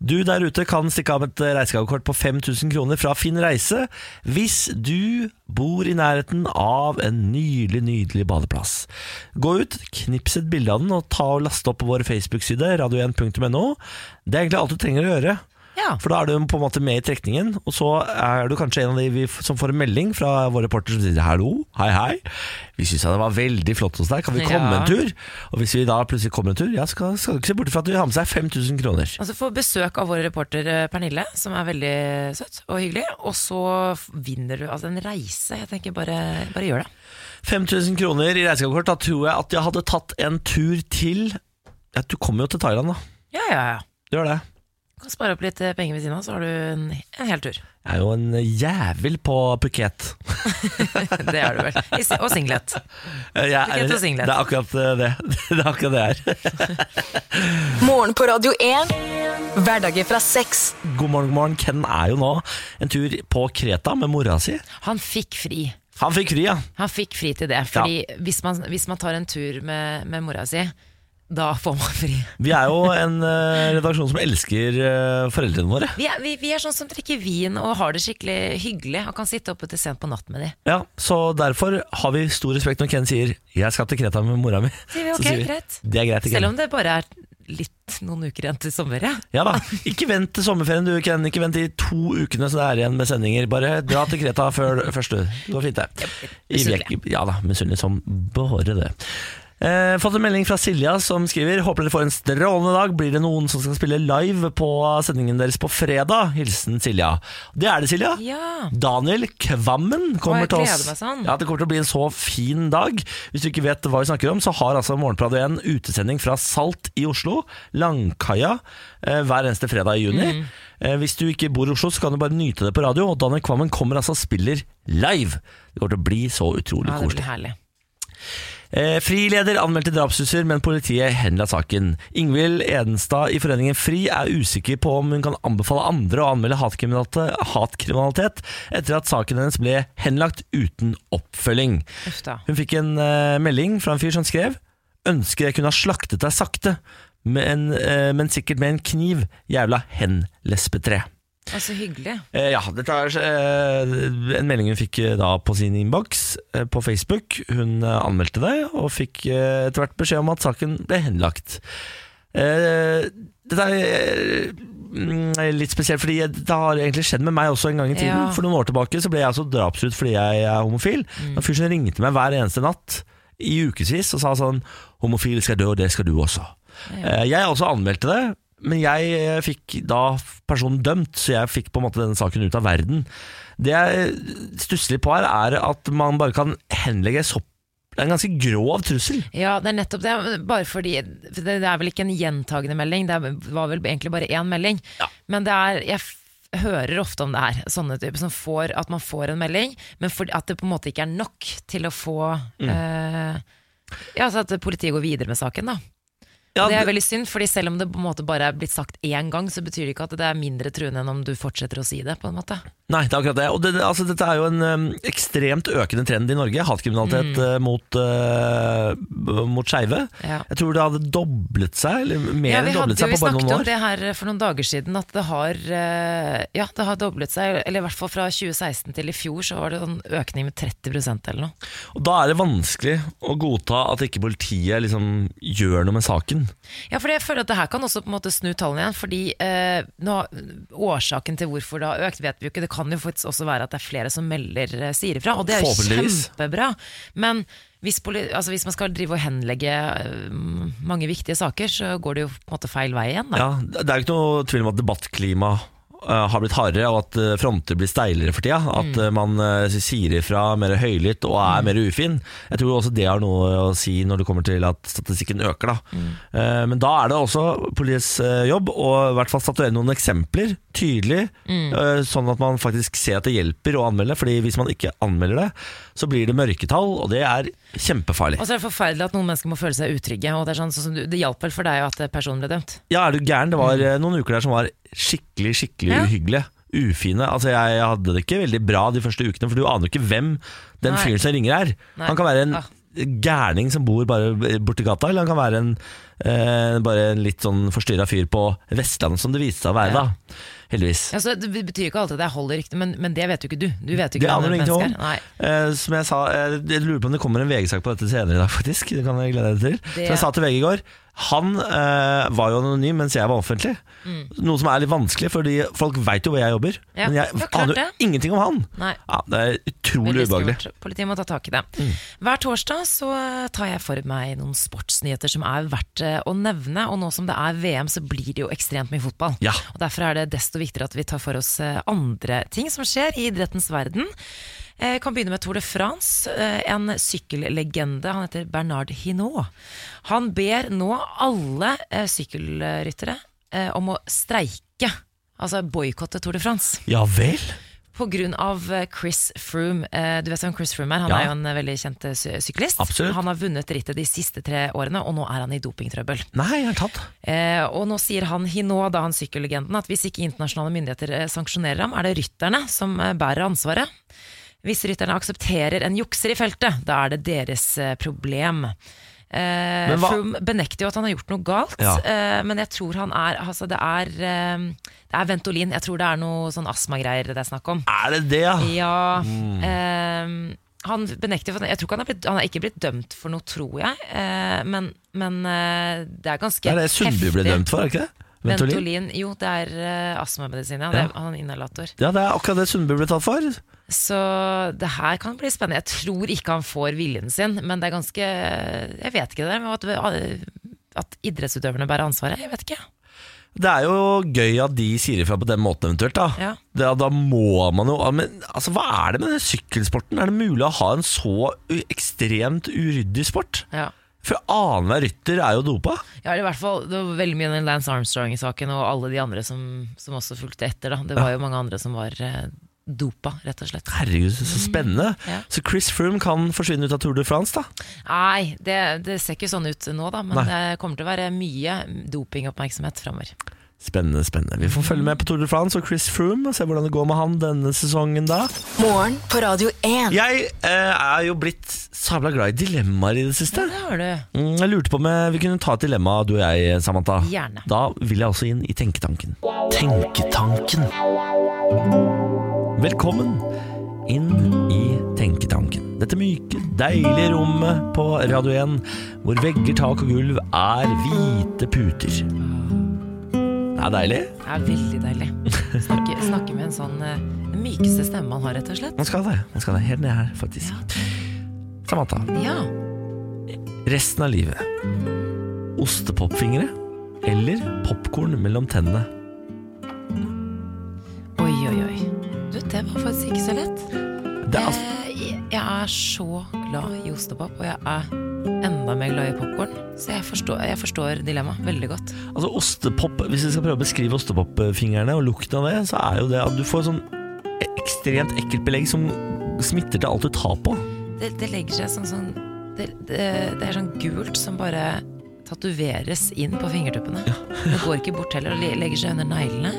Du der ute kan stikke av med et reisegavekort på 5000 kroner fra Finn Reise hvis du bor i nærheten av en nydelig, nydelig badeplass. Gå ut, knips et bilde av den og ta og laste opp på vår Facebook-side, radio1.no. Det er egentlig alt du trenger å gjøre. Ja. For da er du på en måte med i trekningen, og så er du kanskje en av de vi f- som får en melding fra vår reporter som sier 'hallo, hei, hei'. Vi syns det var veldig flott hos deg, kan vi komme Ja. en tur? Og hvis vi da plutselig kommer en tur, ja, så skal, skal du ikke se bort fra at du har med seg 5000 kroner. Og så får Altså, besøk av vår reporter eh, Pernille, som er veldig søt og hyggelig. Og så f- vinner du altså en reise. Jeg tenker bare, bare gjør det. 5000 kroner i reisegavekort, da tror jeg at jeg hadde tatt en tur til Ja, du kommer jo til Thailand, da. Ja, ja, ja. Du gjør det. Du kan spare opp litt eh, penger ved siden av, så har du en, en hel tur. Jeg er jo en jævel på Phuket. Det er du vel. I si- Og singlet. Eh, Jeg er- Phuket og Det singlet. er akkurat eh, det. Det er akkurat det jeg er. Morgen på Radio 1. Hverdager fra seks. God morgen, god morgen. Ken er jo nå en tur på Kreta med mora si. Han fikk fri. Han fikk fri, ja. Han fikk fri til det, fordi hvis, man, hvis man tar en tur med, med mora si, da får man fri. Vi er jo en eh, redaksjon som elsker eh, foreldrene våre. Vi er, vi, vi er sånn som drikker vin og har det skikkelig hyggelig og kan sitte oppe til sent på natt med de. Ja, Så derfor har vi stor respekt når Ken sier 'jeg skal til Kreta med mora mi'. Sier vi, Så ok, greit. Det er greit, Ken. Selv om det bare er litt noen uker igjen til sommerferie. Ja da, Ikke vent til sommerferien du, Ken. Ikke vent de to ukene som det er igjen med sendinger. Bare dra til Kreta før først, du. Det går fint, det. I Misunnelig. Vjek- Ja da, misunnelig som bare det. Eh, fått en melding fra Silja som skriver Håper dere får en strålende dag. Blir det noen som skal spille live på sendingen deres på fredag? Hilsen Silja. Det er det, Silja. Ja. Daniel Kvammen kommer Å, jeg til gleder oss. meg sånn. Ja, det kommer til å bli en så fin dag. Hvis du ikke vet hva vi snakker om, så har altså Morgenpradio en utesending fra Salt i Oslo, Langkaia, eh, hver eneste fredag i juni. Mm. Eh, hvis du ikke bor i Oslo, så kan du bare nyte det på radio. Og Daniel Kvammen kommer altså og spiller live. Det kommer til å bli så utrolig ja, det koselig. blir herlig. Eh, frileder anmeldte drapssusser, men politiet henla saken. Ingvild Edenstad i Foreningen FRI er usikker på om hun kan anbefale andre å anmelde hatkriminalitet, hatkriminalitet etter at saken hennes ble henlagt uten oppfølging. Uff da. Hun fikk en eh, melding fra en fyr som skrev Ønsker jeg kunne ha slaktet deg sakte, men, eh, men sikkert med en kniv, jævla henlespetre. Å, så Altså, hyggelig. Eh, ja, dette er eh, en melding hun fikk eh, da på sin innboks eh, på Facebook. Hun eh, anmeldte det, og fikk eh, etter hvert beskjed om at saken ble henlagt. Eh, dette er eh, mm, litt spesielt, fordi det har egentlig skjedd med meg også en gang i tiden. Ja. For noen år tilbake så ble jeg altså drapstruet fordi jeg er homofil. Det var En fyr som ringte meg hver eneste natt i ukevis og sa sånn 'Homofil skal dø, og det skal du også'. Eh, Jeg også anmeldte det, men jeg eh, fikk da personen dømt, så jeg fikk på en måte denne saken ut av verden. Det jeg stusser litt på her, er at man bare kan henlegge sopp. Det er en ganske grov trussel. Ja, det er nettopp det. Bare fordi for Det det er vel ikke en gjentagende melding, det er- var vel egentlig bare én melding. Ja. Men det er Jeg f hører ofte om det her, sånne typer som får Mm. at man får en melding, men for, at det på en måte ikke er nok til å få eh, Ja, altså At politiet går videre med saken. da Ja, Det er det- veldig synd, fordi selv om det på en måte bare er blitt sagt én gang, så betyr det ikke at det er mindre truende enn om du fortsetter å si det. på en måte Nei, det er akkurat det. Og det, altså, dette er jo en øhm, ekstremt økende trend i Norge. Hatkriminalitet Mm. øh, mot, uh, mot skeive. Ja. Jeg tror det hadde doblet seg, eller mer Ja, enn vi hadde doblet jo seg vi på bare snakket noen om år. det her for noen dager siden, at det har, eh, ja, det har doblet seg. Eller i hvert fall fra 2016 til i fjor så var det en økning med 30 eller noe. Og da er det vanskelig å godta at ikke politiet liksom gjør noe med saken. Ja, for jeg føler at det her kan også på en måte snu tallene igjen. Fordi eh, nå, årsaken til hvorfor det har økt, vet vi jo ikke. Det kan jo faktisk også være at det er flere som melder eh, sier ifra, og det er jo Forhåpentligvis. kjempebra. Men hvis, poli altså, hvis man skal drive og henlegge eh, mange viktige saker, så går det jo på en måte feil vei igjen. Da. Ja, det er jo ikke noe tvil om at debattklimaet eh, har blitt hardere, og at eh, fronter blir steilere for tida. At eh, man eh, sier ifra mer høylytt og er mer ufin. Jeg tror også det har noe å si når det kommer til at statistikken øker. Da. Eh, Men da er det også politiets eh, jobb å i hvert fall statuere noen eksempler tydelig, eh, sånn at man faktisk ser at det hjelper å anmelde. Fordi hvis man ikke anmelder det, så blir det mørketall, og det er kjempefarlig. Og så er det forferdelig at noen mennesker må føle seg utrygge. Og det, er sånn, sånn som du, det hjalp vel for deg at eh, personen ble dømt? Ja, er du gæren? Det var eh, noen uker der som var skikkelig, skikkelig Ja. uhyggelige. Ufine. Altså, jeg hadde det ikke veldig bra de første ukene, for du aner jo ikke hvem den Nei. fyren som ringer er. Nei. Han kan være en Ah. gærning som bor bare borti gata, eller han kan være en, eh, bare en litt sånn forstyrra fyr på Vestlandet, som det viste seg å være, Ja. da. Heldigvis. Ja, så det betyr ikke alltid at jeg holder riktig, men, men det vet jo ikke du. Du vet jo Det ikke aner du hvem det ingenting mennesket om. er. Nei. Eh, som jeg sa, eh, jeg lurer på om det kommer en VG-sak på dette senere i dag, faktisk. Det kan jeg glede deg til. Det- Som jeg sa til VG i går, han eh, var jo anonym mens jeg var offentlig. Noe som er litt vanskelig, fordi folk veit jo hvor jeg jobber. Mm. Ja, men jeg det er klart aner det. jo ingenting om han. Nei. Ja, det er utrolig Veldig ubehagelig. Mm. skummelt. Politiet må ta tak i det. Hver torsdag så eh, tar jeg for meg noen sportsnyheter som er verdt eh, å nevne. Og nå som det er VM, så blir det jo ekstremt mye fotball. Ja. Og Derfor er det desto viktigere at vi tar for oss eh, andre ting som skjer i idrettens verden. Eh, Jeg kan begynne med Tour de France. Eh, En sykkellegende, han heter Bernard Hinault. Han ber nå alle eh, sykkelryttere eh, om å streike, altså boikotte Tour de France. Ja vel? På grunn av eh, Chris Froome. Eh, Du vet hvem Chris Froome er? Han Ja. er jo en eh, veldig kjent eh, sy- syklist. Absolutt. Han har vunnet rittet de siste tre årene, og nå er han i dopingtrøbbel. Nei, jeg er tatt. Eh, og nå sier han Hinault, da han sykkellegenden, at hvis ikke internasjonale myndigheter eh, sanksjonerer ham, er det rytterne som eh, bærer ansvaret. Hvis rytterne aksepterer en jukser i feltet, da er det deres eh, problem. Eh, Men hva- Froome benekter jo at han har gjort noe galt, Ja. eh, men jeg tror han er Altså, det er, eh, det er Ventolin. Jeg tror det er noe sånn astmagreier det er snakk om. Er det det, ja? Ja Mm. ehm, Han benekter for, Jeg tror ikke han er, blitt, han er ikke blitt dømt for noe, tror jeg. eh, men men eh, det er ganske Det er det Sundby ble heftig. dømt for, er det ikke det? Ventolin. Ventolin? Jo, det er eh, astmamedisin, ja. Det er, han er inhalator. Ja, det er akkurat det Sundby ble tatt for. Så det her kan bli spennende. Jeg tror ikke han får viljen sin, men det er ganske Jeg vet ikke det der med at, eh, at idrettsutøverne bærer ansvaret. Jeg vet ikke. Det er jo gøy at de sier ifra på den måten eventuelt da Ja. det, Da må man jo ja, men, altså, Hva er det med den sykkelsporten? Er det mulig å ha en så u- ekstremt uryddig sport? Ja. For annenhver rytter er jo dopa Ja, eller i hvert fall, Det var veldig mye den Lance Armstrong-saken og alle de andre som, som også fulgte etter. da Det var jo mange andre som var eh, dopa, rett og slett. Herregud, så spennende Mm, ja. Så Chris Froome kan forsvinne ut av Tour de France da Nei, det, det ser ikke sånn ut nå, da men Nei. det kommer til å være mye dopingoppmerksomhet framover. Spennende, spennende Vi får følge med på Tour de France og Chris Froome Og se hvordan det går med han denne sesongen da Morgen på Radio 1. Jeg eh, er jo blitt sabla glad i dilemmaer i det siste Det har du. Mm, Jeg lurte på om eh, vi kunne ta et dilemma, du og jeg, Samantha. Gjerne. Da vil jeg også inn i tenketanken. Tenketanken. Velkommen inn i tenketanken. Dette myke, deilige rommet på Radio 1, hvor vegger, tak og gulv er hvite puter. Det er deilig. Det er veldig deilig. Snakke, snakke med en sånn eh, den mykeste stemme man har, rett og slett. Man skal det. Man skal det helt ned her, faktisk. Samantha, Ja. resten av livet. Ostepopfingre eller popkorn mellom tennene? Oi, oi, oi. Du, det var faktisk ikke så lett. Det er altså Eh, jeg- jeg er så glad i ostepop, og jeg er enda mer glad i popkorn. Så jeg forstår, jeg forstår dilemmaet veldig godt. Altså ostepop, Hvis vi skal prøve å beskrive ostepopfingrene og lukten av det, så er jo det at du får sånn ekstremt ekkelt belegg som smitter til alt du tar på. Det, det legger seg sånn, sånn det, det, det er sånn gult som bare tatoveres inn på fingertuppene. Det går ikke bort heller. og le- Legger seg under neglene.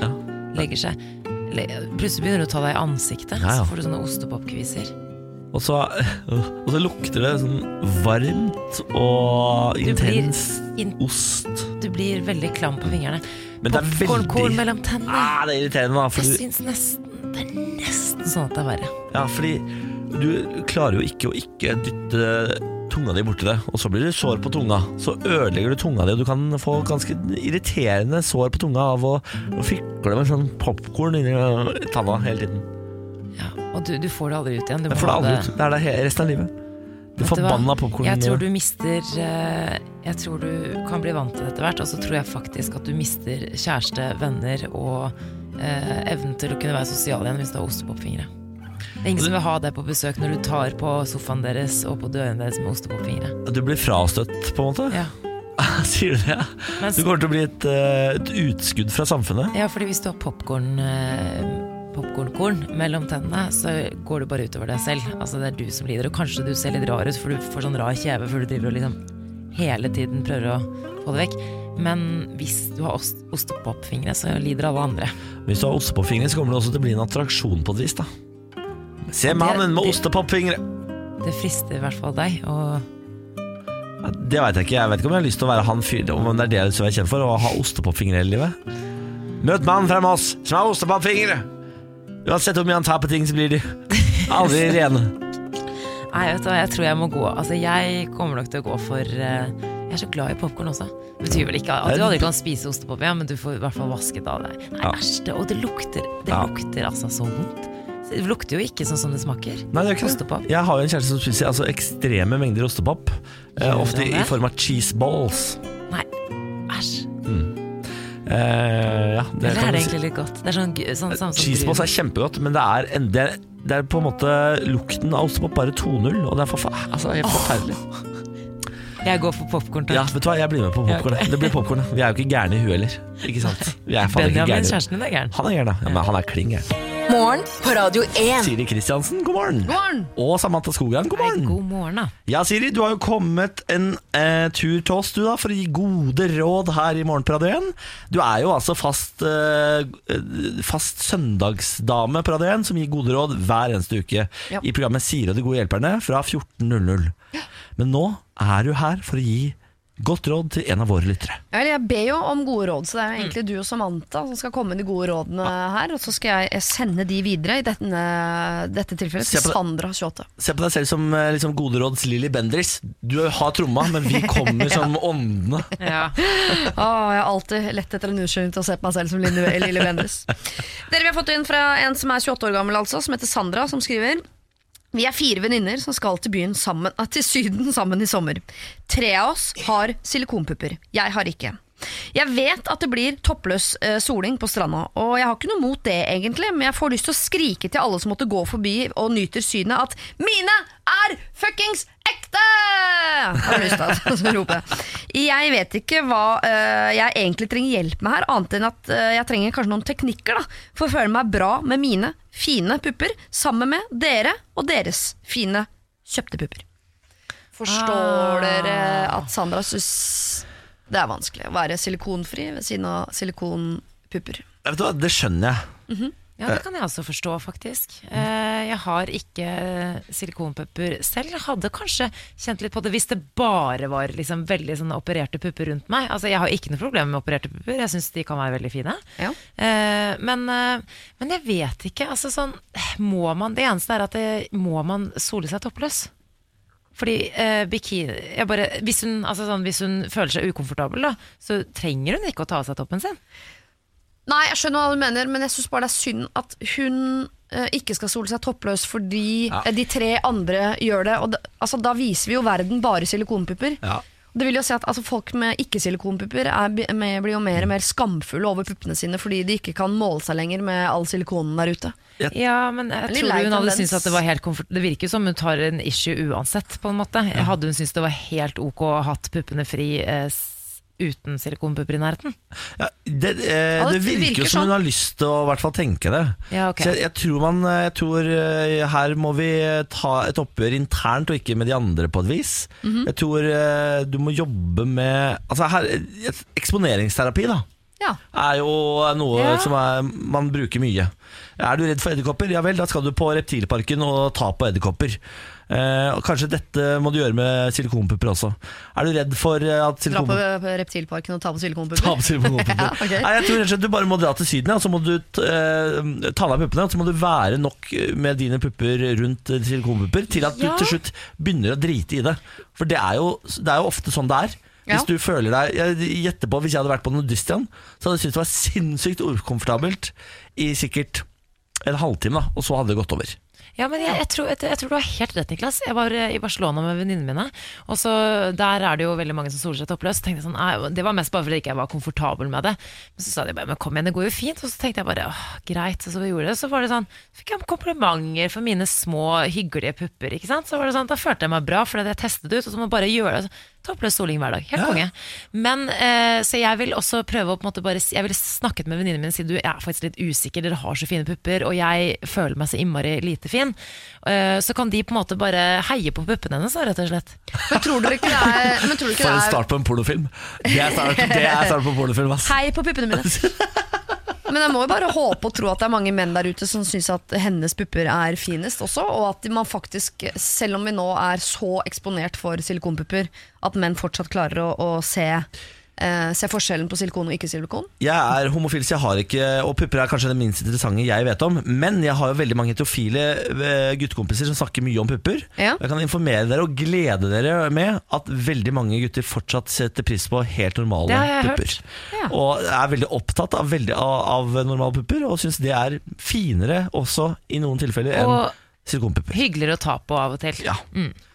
Legger seg le, Plutselig begynner du å ta deg i ansiktet, Ja, ja. så får du sånne ostepopkviser. Og så, og så lukter det sånn varmt og Du blir intens in- ost. Du blir veldig klam på fingrene. Men det er Popkornkorn veldig- mellom tennene. Ah, det er irriterende, da. Jeg Fordi, syns nesten Det er nesten sånn at det er verre. ja, fordi du klarer jo ikke å ikke dytte tunga di borti det, og så blir det sår på tunga. Så ødelegger du tunga di, og du kan få ganske irriterende sår på tunga av å, å fikle med sånn popkorn inni tanna hele tiden. Ja, og du, du får det aldri ut igjen. Du må Jeg får det ha aldri ut. Det er der he- resten av livet. Det Vet du hva? forbanna popkornet. Jeg tror du mister eh, Jeg tror du kan bli vant til det etter hvert, og så tror jeg faktisk at du mister kjæreste, venner og eh, evnen til å kunne være sosial igjen hvis du har ostepopfingre. Det er ingen som vil ha deg på besøk når du tar på sofaen deres og på dørene deres med ostepopfingre. Du blir frastøtt, på en måte. Ja. Sier du det? Mens, Du kommer til å bli et, eh, et utskudd fra samfunnet. ja, fordi hvis du har popcorn eh, popcornkorn mellom tennene, så går det bare utover deg selv. Altså Det er du som lider, og kanskje du ser litt rar ut, for du får sånn rar kjeve for du driver og liksom hele tiden prøver å få det vekk. Men hvis du har ost ostepopfingre, så lider alle andre. Hvis du har ostepopfingre, så kommer det også til å bli en attraksjon på et vis. da Se mannen med det- ostepopfingre! Det frister i hvert fall deg. Og Ja, Det veit jeg ikke. Jeg vet ikke om jeg har lyst til å være han fyren Om det er det jeg skal være kjent for, å ha ostepopfingre hele livet. Møt mannen fra Moss som har ostepopfingre! Uansett hvor mye han tar på ting, så blir de aldri rene. nei, vet du hva, jeg tror jeg må gå. Altså, jeg kommer nok til å gå for eh, Jeg er så glad i popkorn også. Det betyr vel ikke at du aldri kan spise ostepop igjen, men du får i hvert fall vasket av deg. Nei, Ja. æsj, det, og det lukter Det Ja. lukter altså så vondt. Det lukter jo ikke sånn som det smaker. Nei, det er ikke det. Ostepop. Jeg har jo en kjæreste som spiser altså, ekstreme mengder ostepop. Eh, Gjør ofte han i det? form av cheese balls. Nei, æsj. Eh, ja, det Eller kan du er det si. egentlig litt godt? Det er sånn, gu- sånn samme som Cheeseballs er kjempegodt, men det er, en, det, er, det er på en måte lukten av ostepop bare 2-0, og det er forfa altså, helt forferdelig. brun. Jeg går for popkorn, Ja, takk. vet du hva, jeg blir med på popkorn. Det blir popkorn. Vi er jo ikke gærne i huet heller. Ikke sant? Vi er faen ikke Benjamin, gærne. kjæresten din, er gæren. Han er gæren, da. ja. Men han er kling gæren. Morgen på Radio 1. Siri Kristiansen, god morgen. God morgen! Og Samantha Skogran, god Nei, morgen. god morgen, da. Ja, Siri, du har jo kommet en eh, tur til oss du da, for å gi gode råd her i Morgen på Radio 1. Du er jo altså fast, eh, fast søndagsdame på Radio 1, som gir gode råd hver eneste uke Ja. i programmet Siri og de gode hjelperne fra 14.00. Men nå er du her for å gi godt råd til en av våre lyttere. Ja, Eller jeg ber jo om gode råd, så det er jo egentlig du og Samantha som skal komme med de gode rådene her. Og så skal jeg sende de videre, i dette, dette tilfellet, Se på til det. Sandra 28. Se på deg selv som eh, liksom, goderåds Lilly Bendriss. Du har tromma, men vi kommer som åndene. Å, Ah, jeg har alltid lett etter en unnskyldning til å se på meg selv som Lille, Lille Bendriss. Dere, vi har fått inn fra en som er 28 år gammel, altså, som heter Sandra, som skriver vi er fire venninner som skal til, byen sammen, eh, til Syden sammen i sommer. Tre av oss har silikonpupper. Jeg har ikke. Jeg vet at det blir toppløs eh, soling på stranda, og jeg har ikke noe mot det, egentlig, men jeg får lyst til å skrike til alle som måtte gå forbi og nyter synet, at mine er fuckings ekte! Har jeg lyst til å rope. Jeg vet ikke hva eh, jeg egentlig trenger hjelp med her, annet enn at eh, jeg trenger kanskje noen teknikker da, for å føle meg bra med mine fine pupper sammen med dere og deres fine kjøpte pupper. Forstår dere at Sandra syns det er vanskelig å være silikonfri ved siden av silikonpupper? Vet du hva, Det skjønner jeg. Ja, det kan jeg også forstå, faktisk. Eh, Jeg har ikke eh, silikonpupper selv. Jeg hadde kanskje kjent litt på det hvis det bare var liksom veldig sånn opererte pupper rundt meg. Altså, jeg har ikke noe problem med opererte pupper, jeg syns de kan være veldig fine. Ja. Eh, Men, eh, men jeg vet ikke. Altså sånn Må man Det eneste er at det, må man sole seg toppløs? Fordi eh, bikini jeg bare, hvis, hun, altså sånn, hvis hun føler seg ukomfortabel, da, så trenger hun ikke å ta av seg toppen sin. Nei, jeg skjønner hva du mener, men jeg syns bare det er synd at hun eh, ikke skal sole seg toppløs fordi Ja. eh, de tre andre gjør det. Og da, altså, da viser vi jo verden bare silikonpupper. Ja. Det vil jo si at altså, Folk med ikke-silikonpupper er bi- med- blir jo mer og mer skamfulle over puppene sine fordi de ikke kan måle seg lenger med all silikonen der ute. Ja, men jeg Litt tror lei hun hadde tendens. syntes at det var helt komfort... Det virker jo som hun tar en issue uansett, på en måte. Hadde hun syntes det var helt ok å ha hatt puppene fri eh, s- uten silikonpupper i nærheten. Ja, det, eh, Ja, det det virker virker jo som hun sånn. har lyst til å i hvert fall tenke det. Ja, ok. Så jeg, jeg tror man eh, jeg tror, eh, Her må vi ta et oppgjør internt og ikke med de andre på et vis. Mhm. Jeg tror eh, du må jobbe med altså her, eh, Eksponeringsterapi da Ja. er jo noe Ja. som er, man bruker mye. Er du redd for edderkopper? Ja vel, da skal du på Reptilparken og ta på edderkopper. Eh, og kanskje dette må du gjøre med silikonpupper også. Er du redd for eh, at Dra på silikonpupper på Reptilparken og ta på Ta på silikonpupper. silikonpupper. Ja, ok. Nei, jeg tror rett og slett du bare må dra til Syden, ja, og så må du t- eh, ta deg av puppene. Og så må du være nok eh, med dine pupper rundt eh, silikonpupper til at Ja. du til slutt begynner å drite i det. For det er jo, det er jo ofte sånn det er. Ja. Hvis du føler deg Jeg gjetter på hvis jeg hadde vært på Nudistian, så hadde jeg syntes det var sinnssykt ukomfortabelt i sikkert en halvtime, da, og så hadde det gått over. Ja, men jeg, jeg, tror, jeg, jeg tror du har helt rett, Niklas. Jeg var eh, i Barcelona med venninnene mine. Og så Der er det jo veldig mange som soler seg toppløs. Så tenkte jeg sånn, nei, Det var mest bare fordi jeg ikke var komfortabel med det. Men så sa de bare men kom igjen, det går jo fint. Og så tenkte jeg bare åh, greit. Og så gjorde jeg det. Så var det sånn, så fikk jeg komplimenter for mine små, hyggelige pupper. ikke sant? Så var det sånn, Da følte jeg meg bra, for det hadde jeg testet ut. Og så må man bare gjøre det. Toppløs soling hver dag. Helt konge. Men, eh, så jeg vil også prøve å på en måte bare si- Jeg ville snakket med venninnen min og si du jeg er faktisk litt usikker, dere har så fine pupper, og jeg føler meg så innmari lite fin. Eh, så kan de på en måte bare heie på puppene hennes, da, rett og slett. Men tror dere ikke det er, men tror For dere ikke en det er start på en pornofilm. Det er start, det er start på en pornofilm, ass. Hei på puppene mine. Men jeg må jo bare håpe og tro at det er mange menn der ute som syns at hennes pupper er finest også, og at man faktisk, selv om vi nå er så eksponert for silikonpupper, at menn fortsatt klarer å, å se, eh, se forskjellen på silikon og ikke-silikon. Jeg er homofil, så jeg har ikke Og pupper er kanskje det minst interessante jeg vet om. Men jeg har jo veldig mange heterofile eh, guttekompiser som snakker mye om pupper. Ja. Jeg kan informere dere og glede dere med at veldig mange gutter fortsatt setter pris på helt normale Det har jeg pupper. Ja. Og er veldig opptatt av, veldig, av, av normale pupper, og syns det er finere også i noen tilfeller enn Og silikonpupper. hyggeligere å ta på av og til. Ja,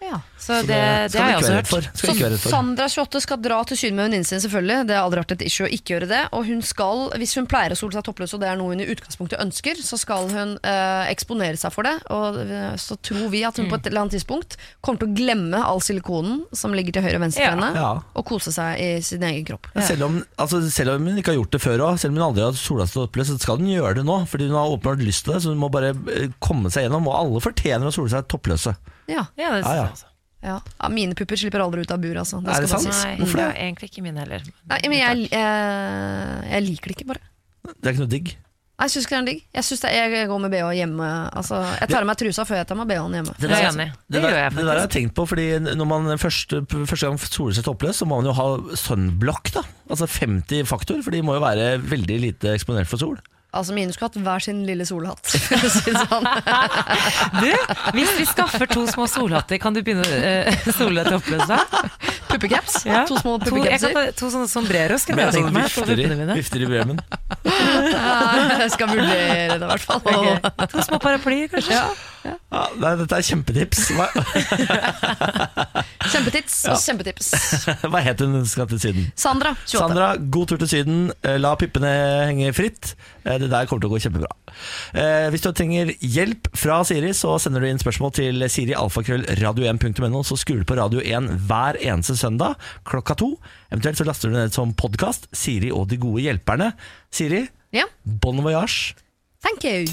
Ja. Så så det, skal det, har vi jeg ikke også være hørt. redd for. Skal Så vi ikke være redd for. Sandra 28 skal dra til Syden med venninnen sin, selvfølgelig. Det har aldri vært et issue å ikke gjøre det. Og hun skal, hvis hun pleier å sole seg toppløs, og det er noe hun i utgangspunktet ønsker, så skal hun eh, eksponere seg for det. Og eh, så tror vi at hun Mm. på et eller annet tidspunkt kommer til å glemme all silikonen som ligger til høyre og venstre Ja. for henne, Ja. og kose seg i sin egen kropp. Ja, selv, om, altså, selv om hun ikke har gjort det før også, Selv om hun aldri har sola seg oppløs, så skal hun gjøre det nå. Fordi hun har åpenbart lyst til det, så hun må bare eh, komme seg gjennom. Og alle fortjener å sole seg toppløse. Ja. Ja, det Ja, ja. synes jeg også. Ja. Ja, mine pupper slipper aldri ut av buret, altså. Er det skal sant? bare sies. Nei, Hvorfor det det? er egentlig ikke min heller. Nei, men jeg, eh, jeg liker det ikke, bare. Det er ikke noe digg. Nei, Jeg syns ikke det er digg. Jeg, synes det, jeg går med bh hjemme. Altså, jeg tar av meg trusa før jeg tar av meg bh-en hjemme. Det er jeg enig i. Det, Det der, gjør jeg det der har faktisk. jeg tenkt på, fordi når man første, første gang soler seg toppløs, så må man jo ha sunblock, da. Altså 50 faktor, for de må jo være veldig lite eksponert for sol. Altså Mine skulle hatt hver sin lille solhatt. for å si det sånn. Du, hvis vi skaffer to små solhatter, kan du begynne å eh, sole deg toppløs da? Puppecaps. Ja. To små To, jeg kan puppecapser. ta, to sånne sombreros kan jeg tenke meg. på vifter i, puppene mine. vifter i bremen. Jeg skal vurdere det, i hvert fall. Ok. To små paraplyer, kanskje. Ja, nei, dette er kjempetips. Hva, Kjempetids og kjempetips. hva het hun som skal til Syden? Sandra, 28. Sandra, god tur til Syden. Eh, La pippene henge fritt. Eh, Det der kommer til å gå kjempebra. Eh, Hvis du trenger hjelp fra Siri, så sender du inn spørsmål til sirialfakrøllradio1.no, så skrur du på Radio 1 hver eneste søndag klokka to. Eventuelt så laster du ned som podkast Siri og de gode hjelperne. Siri, Ja, bon voyage. thank you.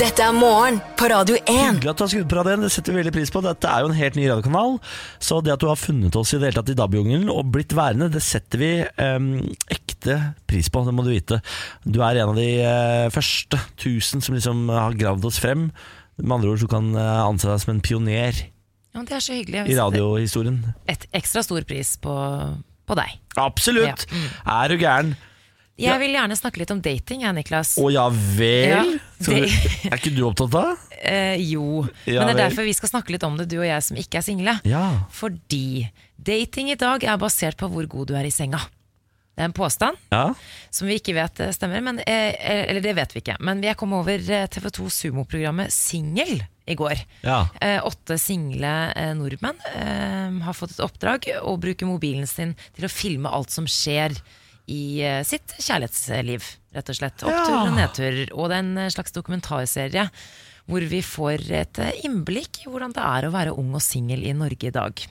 Dette er morgen på Radio 1. Hyggelig at du har skrudd på radioen, det setter vi veldig pris på. Dette er jo en helt ny radiokanal, så det at du har funnet oss i det hele tatt i DAB-jungelen og blitt værende, det setter vi em, ekte pris på, det må du vite. Du er en av de eh, første tusen som liksom har gravd oss frem. Med andre ord så kan eh, anse deg som en pioner Ja, men det er så hyggelig. Jeg i vil sette radiohistorien. Et ekstra stor pris på, på deg. Absolutt! Mm. Er du gæren? Ja. Jeg vil gjerne snakke litt om dating, jeg, Niklas. Å ja vel? Ja, Skal det- du, er ikke du opptatt av? Eh, jo. Ja Men det vel. er derfor vi skal snakke litt om det, du og jeg som ikke er single. Ja. Fordi dating i dag er basert på hvor god du er i senga. Det er en påstand. ja. som vi ikke vet eh, stemmer. Men, eh, eller det vet vi ikke. Men jeg kom over eh, TV2 Sumo-programmet Singel i går. Ja. Eh, åtte single eh, nordmenn eh, har fått et oppdrag å bruke mobilen sin til å filme alt som skjer i eh, sitt kjærlighetsliv, rett og slett. Oppturer og nedturer. Og det er en eh, slags dokumentarserie hvor vi får et eh, innblikk i hvordan det er å være ung og singel i Norge i dag.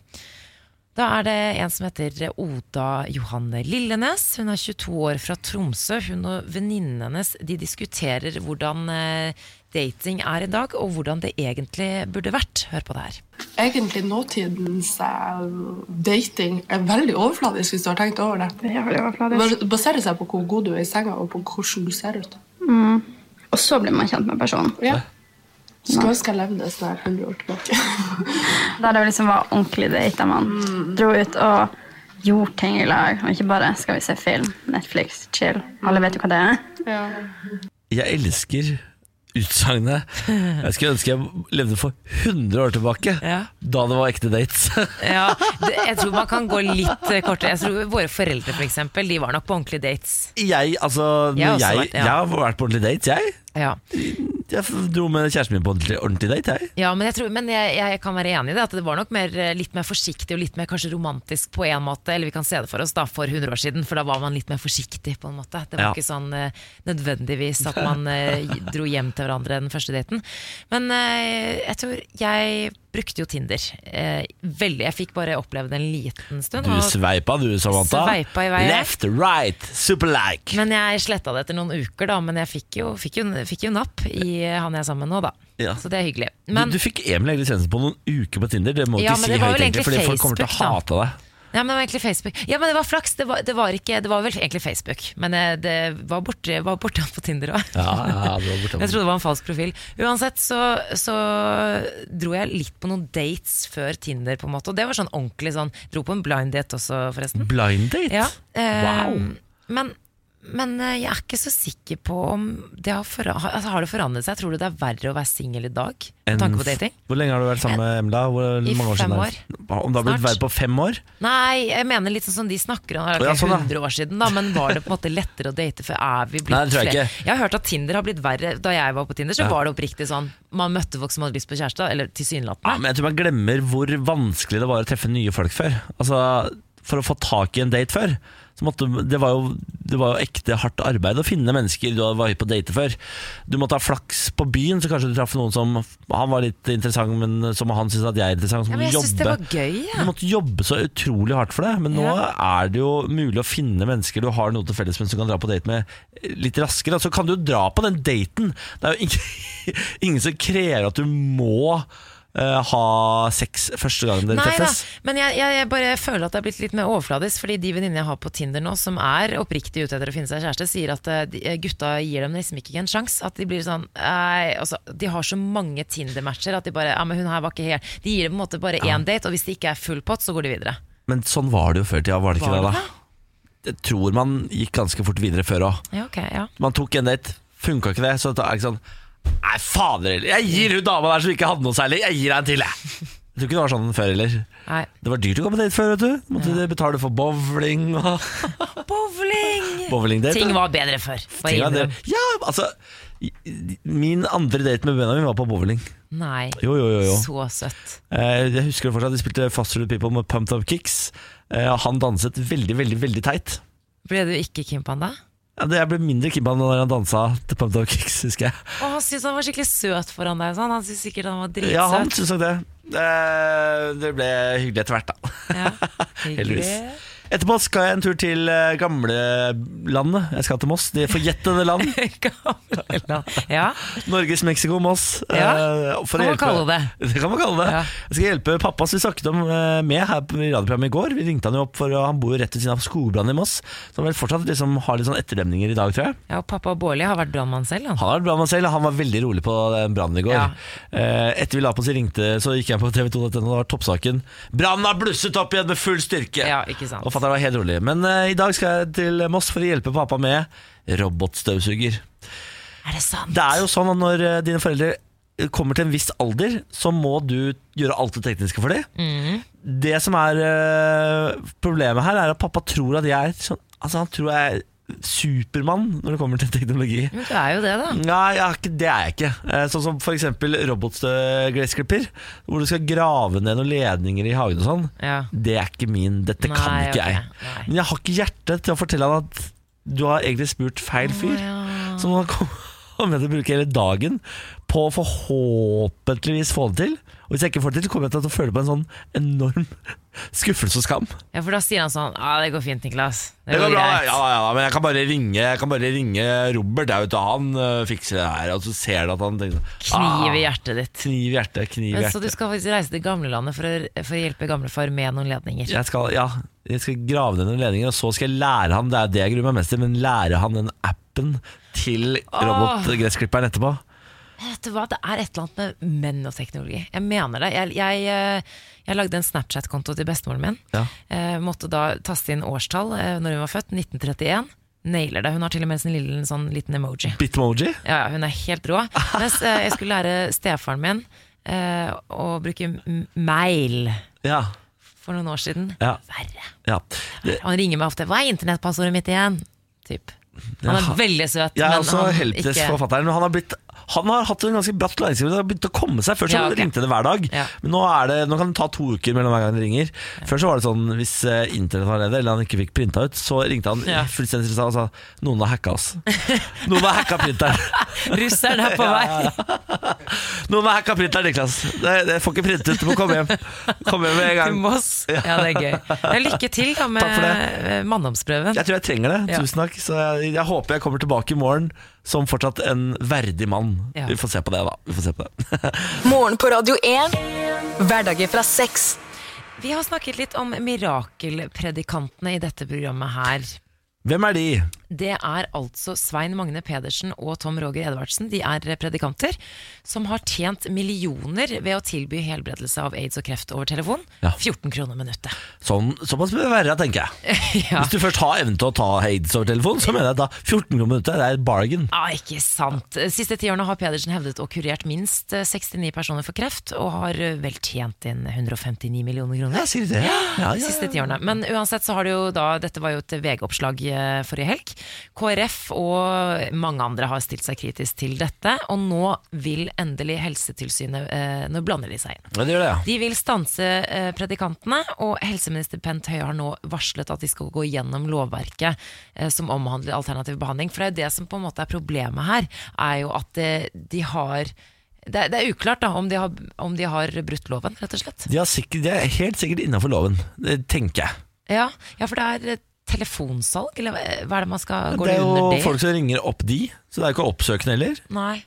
Da er det en som heter Oda Johanne Lillenes. Hun er 22 år fra Tromsø. Hun og venninnen hennes de diskuterer hvordan eh, dating er i dag, og hvordan det egentlig burde vært. Hør på det her. egentlig nåtidens eh, dating er veldig overfladisk hvis du har tenkt over det. Det er veldig overfladisk. Det baserer seg på hvor god du er i senga og på hvordan du ser ut. Og så blir man kjent med personen. Skulle ønske jeg levde sånn her 100 år tilbake. Der det liksom var ordentlig date. Man dro ut og gjorde ting i lag. Og ikke bare 'skal vi se film', Netflix, chill. Alle vet jo hva det er. ja. Jeg elsker utsagnet. Jeg skulle ønske jeg levde for 100 år tilbake, Ja. da det var ekte dates. Ja, det, jeg tror man kan gå litt eh, kortere. Jeg tror Våre foreldre for eksempel, de var nok på ordentlige dates. Jeg, altså, Jeg har når også jeg, vært- ja. jeg har vært på ordentlig date, jeg. Ja, Jeg f- dro med kjæresten min på ordentlig, ordentlig date, jeg. ja Men, jeg, tror, men jeg, jeg kan være enig i det. At det var nok mer, eh, litt mer forsiktig og litt mer kanskje romantisk på en måte. Eller vi kan se det for oss da, for 100 år siden, for da var man litt mer forsiktig. på en måte Det var Ja. ikke sånn eh, nødvendigvis at man eh, dro hjem til hverandre den første daten. Men eh, jeg tror jeg brukte jo Tinder. Eh, veldig, Jeg fikk bare oppleve det en liten stund. Du og- sveipa du, Samantha. Sveipa i vei, jeg. Left, right, super like. Men jeg sletta det etter noen uker, da. Men jeg fikk jo, fikk jo, fikk jo napp i eh, han jeg er sammen med nå, da. Ja. Så det er hyggelig. Men, du, du fikk Emil Egil Svendsen på noen uker på Tinder. Det må du Ja, ikke men si høyt, det var vel egentlig, egentlig fordi folk kommer til å Facebook, hate deg. ja, men det var egentlig Facebook. Ja, men det var flaks! Det var, det var, ikke, det var vel egentlig Facebook. Men eh, det var borte, var borte han på Tinder òg. Ja, ja, det var borte. Jeg trodde det var en falsk profil. Uansett så, så dro jeg litt på noen dates før Tinder, på en måte. Og det var sånn ordentlig sånn Dro på en blind date også, forresten. Blind date? Ja, eh, Wow. Men, men eh, jeg er ikke så sikker på om det har, forra- altså, har det forandret seg. Tror du det er verre å være singel i dag? En Med tanke f- på dating? Hvor lenge har du vært sammen med Emla? Hvor I mange år fem siden er det? Om du har blitt Snart. verre på fem år? Nei, jeg mener litt sånn som de snakker om. Det Å, ja, er sånn, ikke ja. 100 år siden, da, men var det på en måte lettere å date før? Er vi blitt Nei, det tror jeg flere? ikke. Jeg har hørt at Tinder har blitt verre. Da jeg var på Tinder, så var det oppriktig sånn. Man møtte folk som hadde lyst på kjæreste, eller Ja, tilsynelatende. men jeg tror man glemmer hvor vanskelig det var å treffe nye folk før. Altså, for å få tak i en date før, så måtte, det, var jo, det var jo ekte hardt arbeid å finne mennesker du hadde vært på date før. Du måtte ha flaks på byen, så kanskje du traff noen som han var litt interessant, men som han syntes at jeg er interessant, som Ja, men jeg syns det jobbe. var gøy, Du jeg. måtte jobbe så utrolig hardt for det, men nå er det jo mulig å finne mennesker du har noe til felles med, som du kan dra på date med eh, litt raskere. Og så kan du jo dra på den daten! Det er jo ingen, ingen som krever at du må eh, ha sex første gang dere Nei da, treffes. men jeg, jeg, jeg bare føler at det er blitt litt mer overfladisk. Fordi de venninnene jeg har på Tinder nå, som er oppriktig ute etter å finne seg kjæreste, sier at eh, de- eh, gutta gir dem liksom ikke en sjanse. At de blir sånn nei, altså, De har så mange Tinder-matcher at de bare Ja, men hun her var ikke helt De gir dem på en måte bare én date, og hvis det ikke er full pott, så går de videre. Men sånn var det jo før i tida, var det ikke Var det? det da? Jeg tror man gikk ganske fort videre før òg. Ja, ok, ja. Man tok en date, funka ikke det, så da er det ikke sånn Nei, fader heller, jeg gir hun dama der som ikke hadde noe særlig, jeg gir deg en til, jeg. Jeg tror ikke det var sånn før heller. Nei. Det var dyrt å gå på date før, vet du. Måtte betale for bowling og Bowling! bowlingdate. Ting var bedre før. Bare Ting var det. innrøm. Ja, altså i- i- Min andre date med Benjamin var på bowling. Nei. Jo, jo, jo. jo. Så søtt. Eh, Jeg husker det fortsatt. De spilte Faster People med Pumped Up Kicks. Eh, og Han danset veldig, veldig veldig teit. Ble du ikke keen på han da? Ja, det- Jeg ble mindre keen på han når han dansa til Pumped Up Kicks, husker jeg. Å, han syntes han var skikkelig søt foran deg. Sånn. Han syntes sikkert han var dritsøt. Ja, han syntes nok det. Eh, Det ble hyggelig etter hvert, da. Ja. Heldigvis. Etterpå skal jeg en tur til eh, gamlelandet. Jeg skal til Moss. Det forjettede land. Gamle land. Ja. Norges Mexico Moss. Ja, Eh, for å kan man hjelpe- kalle det. Det kan man kalle det. Ja. Jeg skal hjelpe pappa som vi snakket om eh, med her på- i radioprogrammet i går. Vi ringte han jo opp, for eh, han bor jo rett ved siden av skogbrannen i Moss. Så han vel fortsatt liksom har litt sånn etterdemninger i dag, tror jeg. ja, og pappa Bårli har vært brannmann selv. Han. Han har vært bra med selv, han var veldig rolig på den brannen i går. Ja. Eh, Etter vi la på oss og ringte, så gikk jeg på TV2 og det var toppsaken. Brannen har blusset opp igjen med full styrke! Ja, ikke sant. Og fatter'n var helt rolig. Men eh, i dag skal jeg til Moss for å hjelpe pappa med robotstøvsuger. Er det sant? Det er jo sånn at når eh, dine foreldre kommer til en viss alder, så må du gjøre alt det tekniske for dem. Mm. Det som er eh, problemet her, er at pappa tror at jeg er sånn Altså, han tror jeg er Supermann når det kommer til teknologi. Men du er jo det, da. Nei, jeg er ikke, det er jeg ikke. Eh, Sånn som f.eks. robotgressklipper, hvor du skal grave ned noen ledninger i hagen og sånn. Ja. Det er ikke min. Dette kan Nei, ikke ok. jeg. Nei. Men jeg har ikke hjerte til å fortelle han at du har egentlig spurt feil fyr. Å, ja. Som han kom- kommer til å bruke hele dagen på å forhåpentligvis få det til. Og hvis jeg ikke får det til, kommer jeg til å føle på en sånn enorm skuffelse og skam. Ja, for da sier han sånn Ja, det går fint, Niklas. Det Det går går bra, greit. ja, ja, ja, men jeg kan bare ringe, jeg kan bare ringe Robert. Jeg vet, du, han øh, fikser det her. Og så ser du at han tenker Kniv i ah, hjertet ditt. Kniv i hjertet, kniv i Men Så du hjertet. skal faktisk reise til gamlelandet for, å- for å hjelpe gamlefar med noen ledninger. Jeg skal, ja, jeg skal grave ned den ledningen, og så skal jeg lære han Det er det jeg gruer meg mest til, men lære han den appen til robotgressklipperen etterpå. Vet du hva, det er et eller annet med menn og teknologi. Jeg mener det. Jeg, jeg, eh, jeg lagde en Snapchat-konto til bestemoren min. Ja. Eh, måtte da taste inn årstall eh, når hun var født. 1931. Nailer det. Hun har til og med en lille, sånn liten emoji. Bitmoji. Ja, ja, hun er helt rå. Mens eh, jeg skulle lære stefaren min eh, å bruke m- mail Ja. for noen år siden. Ja. Verre. ja. Det, Han ringer meg ofte 'Hva er internettpassordet mitt igjen?' Typ. Han er Ja. veldig søt, jeg er også han helpdesk-forfatteren. men Han, har blitt- han har hatt en ganske bratt læringskrive. Det har begynt å komme seg. Før så Ja, ok. ringte det hver dag. Ja. Men nå, er det, nå kan det ta to uker mellom hver gang det ringer. Før så var det sånn hvis eh, internett var nede, eller han ikke fikk printa ut, så ringte han Ja. fullstendig stressa og sa noen har hacka oss. Noen har hacka printeren. Russeren er på vei! Noen har hacka printeren, Niklas. Det, det får ikke printet ut, du må komme hjem. Kom hjem med en til gang. Moss. Ja, det er gøy. Men lykke til da med Takk for eh, manndomsprøven. Jeg tror jeg trenger det. Ja. Tusen takk. Så jeg, jeg håper jeg kommer tilbake i morgen som fortsatt en verdig mann. Ja. Vi får se på det, da. Vi får se på det. Morgen på Radio 1. Hverdager fra seks. Vi har snakket litt om mirakelpredikantene i dette programmet her. Hvem er de? Det er altså Svein Magne Pedersen og Tom Roger Edvardsen. De er predikanter som har tjent millioner ved å tilby helbredelse av aids og kreft over telefon. Ja. 14 kroner minuttet. Sånn, såpass bør det være, tenker jeg. Ja. Hvis du først har evnen til å ta aids over telefon, så mener jeg da 14 kroner minuttet, det er et bargain. Ah, ikke sant. Siste ti årene har Pedersen hevdet og kurert minst eh, 69 personer for kreft, og har eh, vel tjent inn 159 millioner kroner. Ja, sier du det? Ja, de ja, siste tiårene. Men uansett så har det jo da Dette var jo et VG-oppslag eh, forrige helg. KrF og mange andre har stilt seg kritisk til dette, og nå vil endelig Helsetilsynet eh, Nå blander de seg inn. Ja, det gjør det, ja. De vil stanse eh, predikantene, og helseminister Bent Høie har nå varslet at de skal gå gjennom lovverket eh, som omhandler alternativ behandling. For det er jo det som på en måte er problemet her, er jo at eh, de har det er, det er uklart da om de, har, om de har brutt loven, rett og slett. De, har sikkert, de er helt sikkert innafor loven, det tenker jeg. Ja, ja for det er eh, telefonsalg, eller hva- hva er det man skal Går det det er under jo det? folk som ringer opp de, så det er jo ikke oppsøkende heller. Nei.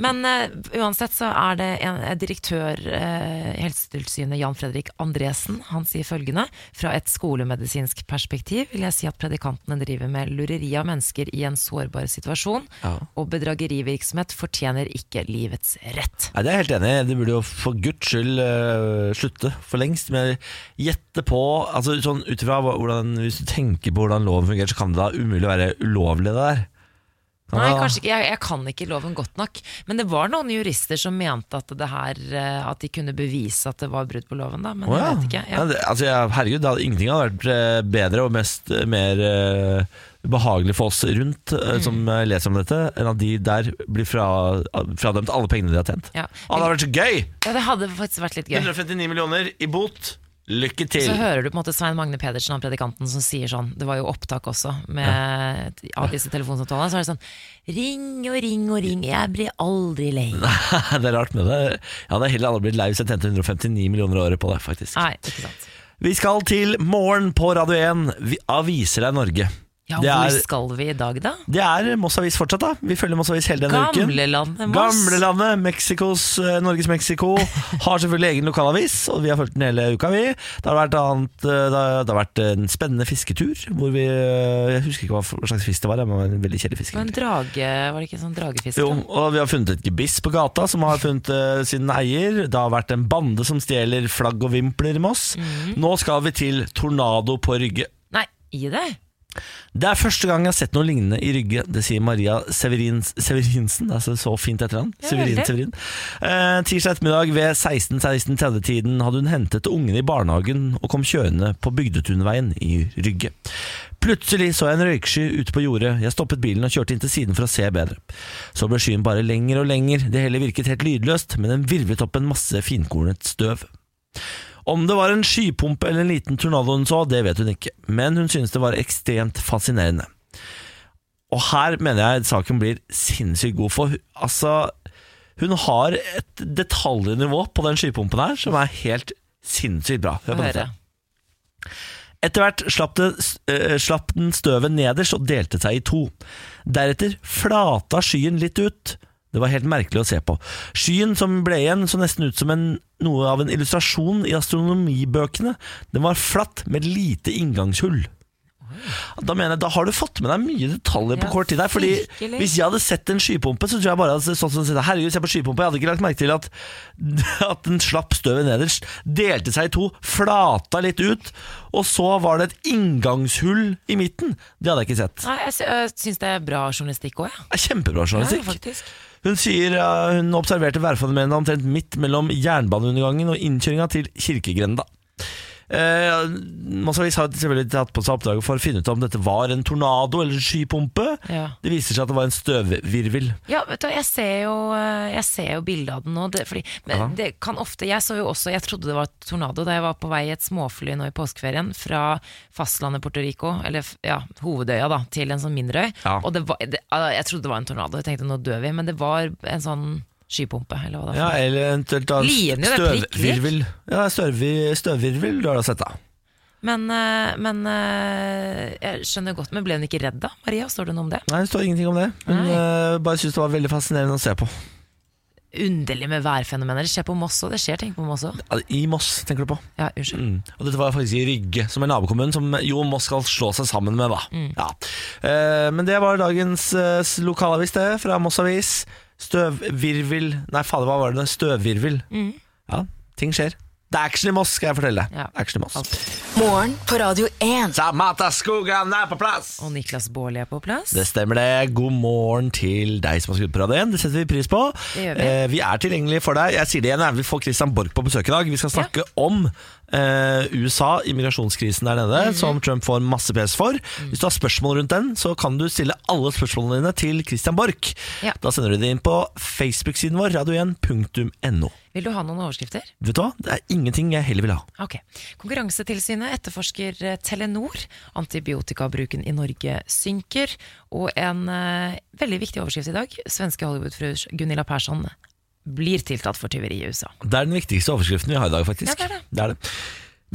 Men eh, uansett så er det en eh, direktør eh, i Helsetilsynet, Jan Fredrik Andresen, han sier følgende. Fra et skolemedisinsk perspektiv vil jeg si at predikantene driver med lureri av mennesker i en sårbar situasjon, Ja. og bedragerivirksomhet fortjener ikke livets rett. Nei, Det er jeg helt enig i. De burde jo for guds skyld øh, slutte for lengst. Men jeg gjette på altså sånn ut ifra hva- hvordan, Hvis du tenker på hvordan loven fungerer, så kan det da umulig være ulovlig, det der. Kan Nei, det da- kanskje ikke. Jeg, jeg kan ikke loven godt nok. Men det var noen jurister som mente at, det her, eh, at de kunne bevise at det var brudd på loven, da. Men Å, ja. jeg vet ikke. Ja, Ja. det, altså, jeg, herregud, det hadde, ingenting hadde vært eh, bedre og mest, eh, mer eh, behagelig for oss rundt Mm. eh, som eh, leser om dette, enn at de der blir fra, fradømt alle pengene de har tjent. Ja. Å, det hadde vært så gøy! ja, det hadde faktisk vært litt gøy. 159 millioner i bot. Lykke Så til! hører du på en måte Svein Magne Pedersen, han predikanten, som sier sånn Det var jo opptak også med, av disse telefonsamtalene. Så er det sånn Ring og ring og ring, jeg blir aldri lei. det er rart med det. Jeg hadde heller aldri blitt lei hvis jeg tjente 159 millioner i året på det, faktisk. Nei, ikke sant. Vi skal til Morgen på Radio 1. Vi aviser deg Norge. Ja, Det hvor er- skal vi i dag, da? Det er Moss Avis fortsatt, da. Vi følger Moss Avis hele denne uken. Gamlelandet Moss. Gamlelandet, Mexicos, eh, Norges Mexico, har selvfølgelig egen lokalavis, og vi har fulgt den hele uka, vi. Det har vært, annet, eh, det har, det har vært en spennende fisketur, hvor vi eh, Jeg husker ikke hva for- hva slags fisk det var, det var en veldig kjedelig fisk. Det var en drage, var det ikke sånn dragefisk? Jo, da? og vi har funnet et gebiss på gata som har funnet eh, sin eier. Det har vært en bande som stjeler flagg og vimpler i Moss. Nå skal vi til Tornado på Rygge. Nei, i det? Det er første gang jeg har sett noe lignende i Rygge. Det sier Maria Severins, Severinsen. Det er så, så fint etter han. Ja, Severin, veldig. Severin. Eh, tirsdag ettermiddag ved 16-16.30-tiden hadde hun hentet ungene i barnehagen og kom kjørende på Bygdetunveien i Rygge. Plutselig så jeg en røyksky ute på jordet. Jeg stoppet bilen og kjørte inn til siden for å se bedre. Så ble skyen bare lengre og lengre. Det hele virket helt lydløst, men den virvlet opp en masse finkornet støv. Om det var en skypumpe eller en liten tornado hun så, det vet hun ikke, men hun synes det var ekstremt fascinerende. Og her mener jeg saken blir sinnssykt god, for altså Hun har et detaljnivå på den skypumpen her som er helt sinnssykt bra. Hør Få på høre. dette. Etter hvert slapp, det, eh, slapp den støvet nederst og delte seg i to. Deretter flata skyen litt ut. Det var helt merkelig å se på. Skyen som ble igjen så nesten ut som en, noe av en illustrasjon i astronomibøkene. Den var flatt med lite inngangshull. Da mener jeg, da har du fått med deg mye detaljer på Ja, kort tid. Der, fordi virkelig. Hvis jeg hadde sett en skypumpe, så tror jeg bare at sånn som sånn, Herregud, se på skypumpa. Jeg hadde ikke lagt merke til at, at den slapp støvet nederst, delte seg i to, flata litt ut, og så var det et inngangshull i midten. Det hadde jeg ikke sett. Nei, jeg sy- jeg syns det er bra journalistikk òg, jeg. Det er Kjempebra Ja. journalistikk. Ja, faktisk. Hun sier eh, hun observerte værfenomenet omtrent midt mellom jernbaneundergangen og innkjøringa til kirkegrenda. Eh, Massavis har selvfølgelig tatt på seg oppdraget for å finne ut om dette var en tornado eller en skypumpe. Ja. Det viser seg at det var en støvvirvel. Ja, vet du, hva, jeg ser jo, eh, jeg ser jo bildet av den nå. Det, fordi, men det kan ofte, jeg så jo også, jeg trodde det var et tornado da jeg var på vei i et småfly nå i påskeferien fra fastlandet Puerto Rico, eller f- ja, hovedøya da, til en sånn mindre øy. Ja. Og det var, det, ah, jeg trodde det var en tornado, jeg tenkte nå dør vi, men det var en sånn skypumpe, eller hva det Ja, var. eller eventuelt da Lien jo, det er prikk lik. støvvirvel. Ja, støvvi- støvvirvel du har da sett, da. Men, eh, men eh, jeg skjønner godt, men ble hun ikke redd da, Maria? Står det noe om det? Nei, det står ingenting om det. Hun eh, bare syntes det var veldig fascinerende å se på. Underlig med værfenomener, det skjer på Moss også, det skjer ting på Moss også. Ja, Altså, I Moss, tenker du på. Ja, unnskyld. Mm. Og dette var faktisk i Rygge, som er nabokommunen som jo Moss skal slå seg sammen med, da. Mm. Ja. Eh, men det var dagens eh, s- lokalavis, det, fra Moss Avis. Støvvirvel Nei, fader, hva var det? Støvvirvel. Ja, ting skjer. Det er action i Moss, skal jeg fortelle. Mm. Ja. Action i Moss. Morgen på Radio 1. Samata Skogran er på plass! Og Niklas Bårli er på plass. Det stemmer det. God morgen til deg som har skrudd på radioen. Det setter vi pris på. Det gjør vi. Eh, vi er tilgjengelige for deg. Jeg sier det igjen, jeg. vi får Christian Borch på besøk i dag. Vi skal snakke om eh, USA, immigrasjonskrisen der Mhm. nede, som Trump får masse pes for. Mm. Hvis du har spørsmål rundt den, så kan du stille alle spørsmålene dine til Christian Borch. Ja. Da sender du det inn på Facebook-siden vår, radio1.no. Vil du ha noen overskrifter? Vet du hva? Det er ingenting jeg heller vil ha. Ok. Konkurransetilsynet etterforsker eh, Telenor. Antibiotikabruken i Norge synker. Og en eh, veldig viktig overskrift i dag. Svenske Hollywood-fru Gunilla Persson blir tiltalt for tyveri i USA. Det er den viktigste overskriften vi har i dag, faktisk. Ja, det er det. det, er det.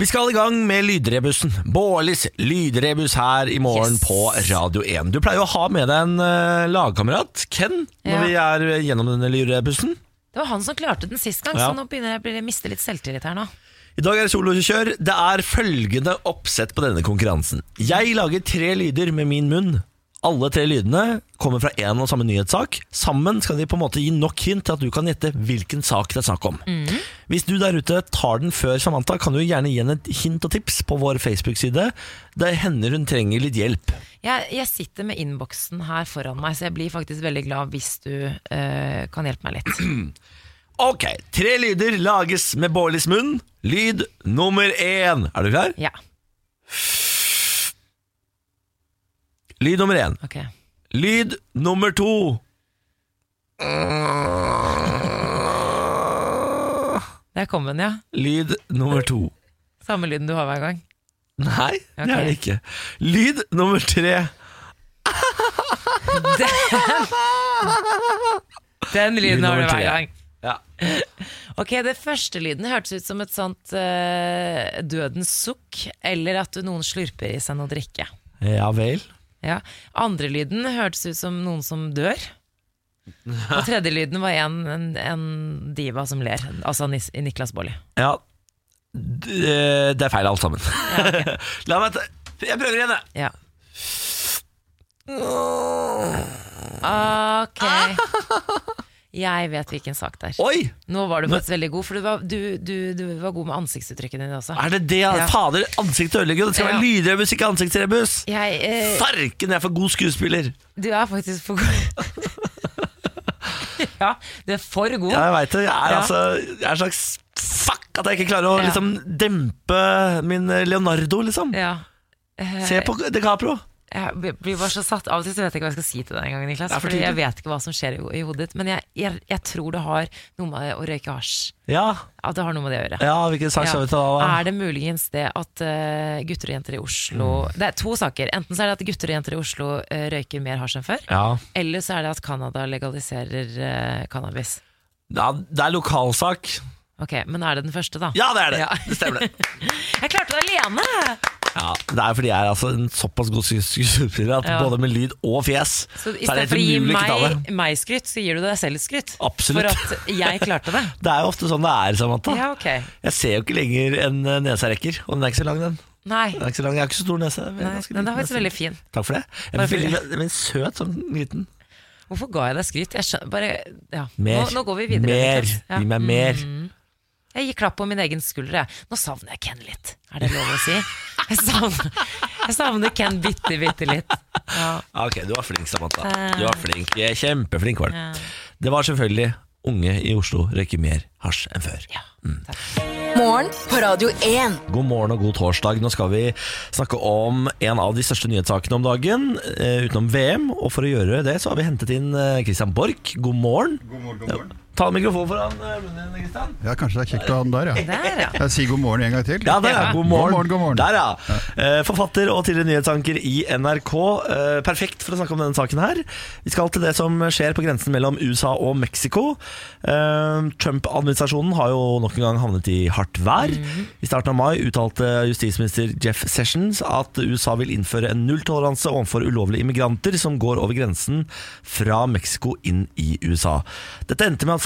Vi skal i gang med lydrebussen. Bårlis lydrebus her i morgen Yes. på Radio 1. Du pleier jo å ha med deg en eh, lagkamerat, Ken, når vi er gjennom denne lydrebussen. Det var han som klarte den sist gang, Ja. så nå begynner jeg å bli- miste litt selvtillit her nå. I dag er det solokjør. Det er følgende oppsett på denne konkurransen. Jeg lager tre lyder med min munn. Alle tre lydene kommer fra én og samme nyhetssak. Sammen skal de på en måte gi nok hint til at du kan gjette hvilken sak det er snakk om. Hvis du der ute tar den før Samantha, kan du gjerne gi henne et hint og tips på vår Facebook-side. Det hender hun trenger litt hjelp. Jeg, jeg sitter med innboksen her foran meg, så jeg blir faktisk veldig glad hvis du eh, kan hjelpe meg litt. Ok, tre lyder lages med Bårlis munn. Lyd nummer én. Er du klar? Ja, Lyd nummer én. ok. Lyd nummer to. Der kom den, ja. Lyd nummer to. Samme lyden du har hver gang. Nei, det er Ok. det ikke. Lyd nummer tre. Den lyden har nummer du tre. hver gang. Ja. Ok, det første lyden hørtes ut som et sånt eh, dødens sukk, eller at noen slurper i seg noe drikke. ja vel. Ja. Andre lyden hørtes ut som noen som dør. Og tredje lyden var en, en, en diva som ler, altså Nis Niklas Baarli. Ja. D- eh, Det er feil alt sammen. La meg ta Jeg prøver igjen, jeg. Ja. Ok. Jeg vet hvilken sak det er. Oi! Nå var du faktisk veldig god, for du var, du, du, du var god med ansiktsuttrykket ditt også. Er det det? Ja. Fader, ansiktet ødelegger. Det skal Ja. være lydrebus, ikke ansiktsrebus. Jeg, eh, Farken, jeg er for god skuespiller. Du er faktisk for god. ja, du er for god. Ja, jeg veit det. Jeg er Ja. altså Jeg er en slags fuck at jeg ikke klarer å Ja. liksom dempe min Leonardo, liksom. Ja. Eh. Se på DiCaprio. Jeg blir bare så satt Av og til så vet jeg ikke hva jeg skal si til deg en gang, Niklas. Det er for Fordi jeg tidlig. vet ikke hva som skjer i, i hodet ditt. Men jeg, jeg, jeg tror det har noe med å røyke hasj Ja, At det har noe med det å gjøre. ja hvilken sak skal vi ta da? Er det muligens det at eh, gutter og jenter i Oslo Mm. Det er to saker. Enten så er det at gutter og jenter i Oslo eh, røyker mer hasj enn før. Ja. Eller så er det at Canada legaliserer eh, cannabis. Ja, det er lokalsak. Ok, Men er det den første, da? Ja, det er det! Ja. Det stemmer, det. Jeg klarte det alene! Ja, det er fordi jeg er altså en såpass god skues- skuespiller at Ja. både med lyd og fjes Så så er det istedenfor å helt gi umulig å knalle. meg, meg skryt, så gir du deg selv et skryt. Absolutt. For at jeg klarte det. Det er jo ofte sånn det er, Samantha. Ja, ok. Jeg ser jo ikke lenger enn eh, nesa rekker, og den er ikke så lang, den. Nei. den er ikke så lang. Jeg har ikke så stor nese. Jeg Nei, har ganske liten men det er faktisk nese. veldig fin. Takk for det. Jeg Bare er veldig, fordi- veldig søt, sånn liten. Hvorfor ga jeg deg skryt? Jeg skjønner, bare, ja. Mer. Nå, nå går vi videre. Mer. Niklas. Ja. Mm. Gi meg mer. Jeg gir klapp på min egen skulder. Jeg. Nå savner jeg Ken litt, er det lov å si? Jeg savner, jeg savner Ken bitte, bitte litt. Ja. Ja, Ah, Ok, du var flink, Samantha. Eh. Du var flink. Jeg er Kjempeflink var du. Ja. Det var selvfølgelig unge i Oslo røyker mer hasj enn før. Ja. Morgen på Radio 1. God morgen og god torsdag. Nå skal vi snakke om en av de største nyhetssakene om dagen, eh, utenom VM. Og for å gjøre det, så har vi hentet inn eh, Christian Borch. God morgen. God morgen, god morgen. Ta mikrofonen foran eh, munnen din, Christian. Ja, kanskje det er kjekt å ha den der, ja. Der, ja. Jeg sier god morgen en gang til. Ja, der, ja. God morgen. God morgen, god morgen. Der, ja. Eh, Forfatter og tidligere nyhetsanker i NRK. Eh, Perfekt for å snakke om denne saken her. Vi skal til det som skjer på grensen mellom USA og Mexico. Eh, Trump-administrasjonen har jo nok en gang havnet i hardt vær. Mhm. I starten av mai uttalte justisminister Jeff Sessions at USA vil innføre en nulltoleranse overfor ulovlige immigranter som går over grensen fra Mexico inn i USA. Dette endte med at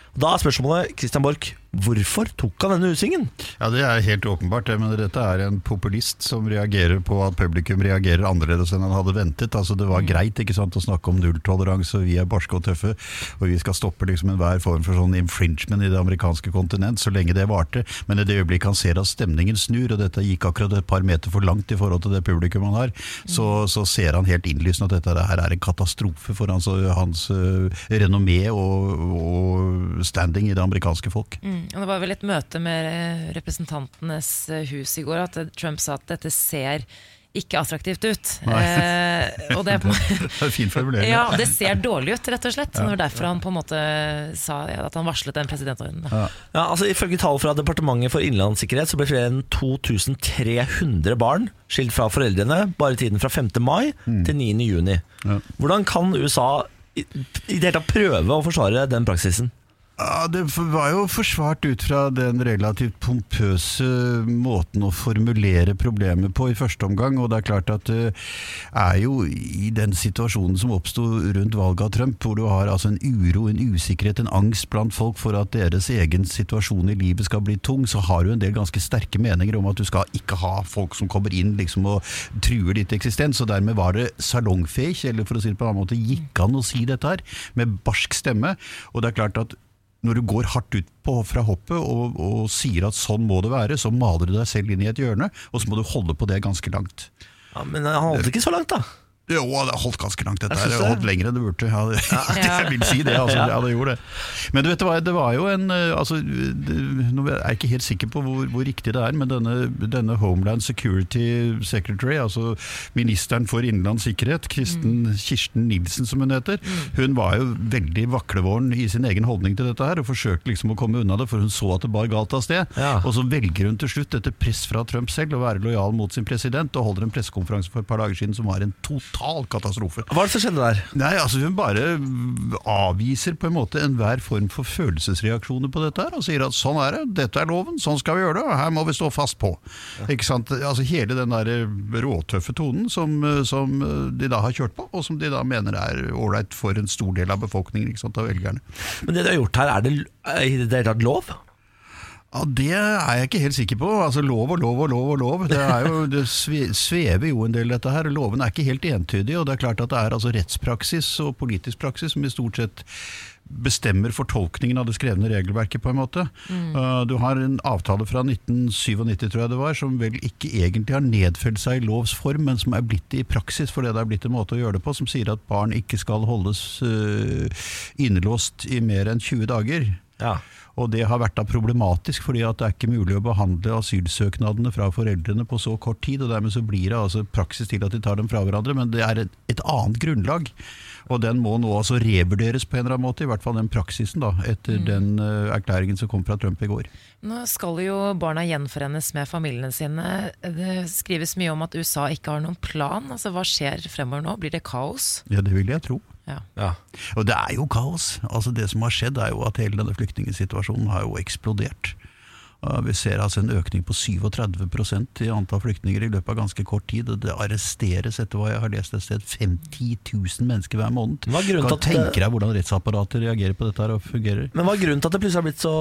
Da er spørsmålet, Christian Borch, hvorfor tok han denne U-svingen? Ja, Det er helt åpenbart. det, Men dette er en populist som reagerer på at publikum reagerer annerledes enn han hadde ventet. Altså, Det Mm. var greit ikke sant, å snakke om nulltoleranse, og vi er barske og tøffe, og vi skal stoppe liksom enhver form for sånn infringement i det amerikanske kontinent, så lenge det varte. Men i det øyeblikket han ser at stemningen snur, og dette gikk akkurat et par meter for langt i forhold til det publikum han har, Mm. så, så ser han helt innlysende at dette her er en katastrofe for hans, hans øh, renommé og, og standing i det amerikanske folk. Mm, og Det var vel et møte med eh, Representantenes eh, hus i går at eh, Trump sa at dette ser ikke attraktivt ut. Nei. Eh, og det er på en måte Det er en fin formulering. Ja, det ser dårlig ut, rett og slett. Det var derfor han på en måte sa ja, at han varslet den presidentordenen. da. Ja, altså Ifølge tall fra Departementet for innenlandssikkerhet så ble flere enn 2300 barn skilt fra foreldrene bare i tiden fra 5. mai til 9. juni. Hvordan kan USA i, i det hele tatt prøve å forsvare den praksisen? Ja, Det f- var jo forsvart ut fra den relativt pompøse måten å formulere problemet på i første omgang. Og det er klart at det er jo i den situasjonen som oppsto rundt valget av Trump, hvor du har altså en uro, en usikkerhet, en angst blant folk for at deres egen situasjon i livet skal bli tung, så har du en del ganske sterke meninger om at du skal ikke ha folk som kommer inn liksom og truer ditt eksistens. Og dermed var det salongfeich, eller for å si det på en annen måte, gikk an å si dette her med barsk stemme. Og det er klart at når du går hardt ut på, fra hoppet og, og sier at sånn må det være, så maler du deg selv inn i et hjørne, og så må du holde på det ganske langt. Ja, men Han holdt ikke så langt, da. Jo, det har holdt ganske langt dette Jeg her. synes Det det. holdt lenger enn det burde. Ja, det, jeg vil si det, altså. Ja, det gjorde det. Men du vet hva, det var jo en eh, altså, det, Nå er jeg ikke helt sikker på hvor, hvor riktig det er, men denne, denne Homeland Security Secretary, altså ministeren for innenlands sikkerhet, Kristen, Mm. Kirsten Nilsen som hun heter, hun var jo veldig vaklevåren i sin egen holdning til dette her, og forsøkte liksom å komme unna det, for hun så at det bar galt av sted. Ja. Og så velger hun til slutt, etter press fra Trump selv, å være lojal mot sin president, og holder en pressekonferanse for et par dager siden som var en total katastrofe. Hva er det som skjedde der? Nei, altså Hun bare avviser på en måte enhver form for følelsesreaksjoner på dette her, og sier at sånn er det, dette er loven, sånn skal vi gjøre det, og her må vi stå fast på. Ikke sant? Altså Hele den der råtøffe tonen som, eh, som de da har kjørt på, og som de da mener er ålreit for en stor del av befolkningen, ikke sant, av velgerne. Men det de har gjort her, er det er det i det hele tatt lov? Ja, Det er jeg ikke helt sikker på. Altså Lov og lov og lov og lov. Det, er jo, det sve- svever jo en del, dette her. og Lovene er ikke helt entydige. Og det er klart at det er altså rettspraksis og politisk praksis som i stort sett bestemmer fortolkningen av det skrevne regelverket, på en måte. Uh, Du har en avtale fra 1997, tror jeg det var, som vel ikke egentlig har nedfelt seg i lovs form, men som er blitt det i praksis fordi det er blitt en måte å gjøre det på, eh, som sier at barn ikke skal holdes uh, innelåst i mer enn 20 dager. Ja. Og det har vært da problematisk, fordi at det er ikke mulig å behandle asylsøknadene fra foreldrene på så kort tid. og Dermed så blir det altså praksis til at de tar dem fra hverandre, men det er et, et annet grunnlag. Og den må nå altså revurderes på en eller annen måte, i hvert fall den praksisen, da, etter den eh, erklæringen som kom fra Trump i går. Nå skal jo barna gjenforenes med familiene sine. Det skrives mye om at USA ikke har noen plan. Altså, Hva skjer fremover nå? Blir det kaos? Ja, det vil jeg tro. Ja. Ja. Og det er jo kaos. Altså Det som har skjedd, er jo at hele denne flyktningsituasjonen har jo eksplodert. Uh, Vi ser altså en økning på 37 i antall flyktninger i løpet av ganske kort tid. og Det arresteres, etter hva jeg har lest et sted, 50 000 mennesker hver måned. Hva er grunnen til kan at det- tenke deg hvordan rettsapparatet reagerer på dette her og fungerer. Men hva er grunnen til at det plutselig har blitt så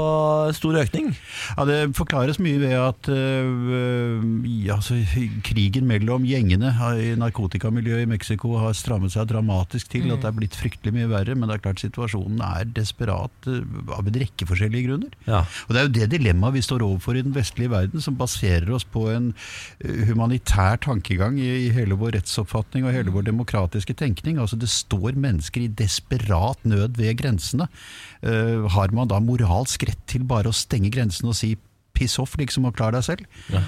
stor økning? Ja, Det forklares mye ved at øh, ja, altså, krigen mellom gjengene har- i narkotikamiljøet i Mexico har strammet seg dramatisk til. At det er blitt fryktelig mye verre. Men det er klart situasjonen er desperat øh, av en rekke forskjellige grunner. Ja. Og Det er jo det dilemmaet vi står overfor i den vestlige verden, som baserer oss på en øh, humanitær tankegang i, i hele vår rettsoppfatning og hele vår demokratiske tenkning. Altså Det står mennesker i desperat nød ved grensene. Eh, har man da moralsk rett til bare å stenge grensen og si piss off, liksom, og klar deg selv? Eh,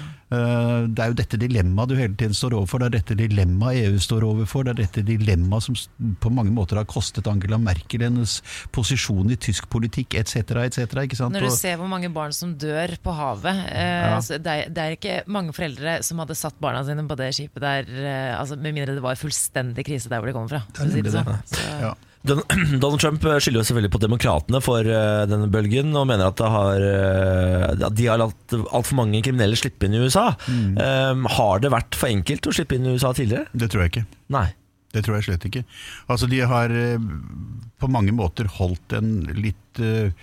Det er jo dette dilemmaet du hele tiden står overfor, det er dette dilemmaet EU står overfor, det er dette dilemmaet som s- på mange måter har kostet Angela Merkel hennes posisjon i tysk politikk etc. etc. ikke sant? Når du Og- ser hvor mange barn som dør på havet eh, altså, det, er, det er ikke mange foreldre som hadde satt barna sine på det skipet der, eh, altså, med mindre det var fullstendig krise der hvor de kommer fra. for å si Det nemlig sånn. Så- ja. Don- Donald Trump eh, skylder jo selvfølgelig på demokratene for eh, denne bølgen, og mener at, det har, eh, at de har latt altfor mange kriminelle slippe inn i USA. Mm. Eh, har det vært for enkelt å slippe inn i USA tidligere? Det tror jeg ikke. Nei. Det tror jeg slett ikke. Altså, de har eh, på mange måter holdt en litt eh,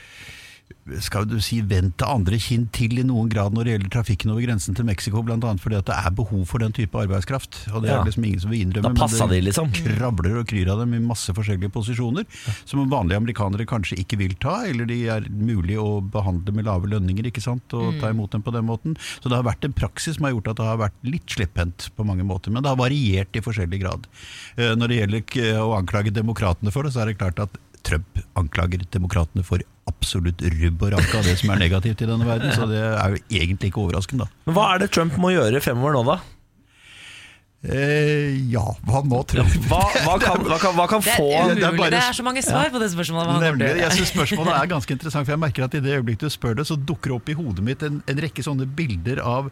skal du si, vendt det andre kinn til i noen grad når det gjelder trafikken over grensen til Mexico, bl.a. fordi at det er behov for den type arbeidskraft. Og det Ja. er liksom ingen som vil innrømme. Da men Mm. passa det de, liksom. Krabler og kryr av dem i masse forskjellige posisjoner, som vanlige amerikanere kanskje ikke vil ta, eller de er mulig å behandle med lave lønninger, ikke sant, og ta imot dem på den måten. Så det har vært en praksis som har gjort at det har vært litt slepphendt på mange måter, men det har variert i forskjellig grad. Eh, Når det gjelder k- å anklage demokratene for det, så er det klart at Trump anklager demokratene for absolutt rubb og ranke av det som er negativt i denne verden, så det er jo egentlig ikke overraskende, da. Men hva er det Trump må gjøre fremover nå, da? Eh, ja, hva nå, Trump? Hva, hva, kan, hva, kan, hva kan Det få er umulig. det Det er er, bare- så mange svar på det spørsmålet. Hva han kommer til å Nemlig, gjøre. jeg synes Spørsmålet er ganske interessant, for jeg merker at i det øyeblikket du spør det, så dukker det opp i hodet mitt en, en rekke sånne bilder av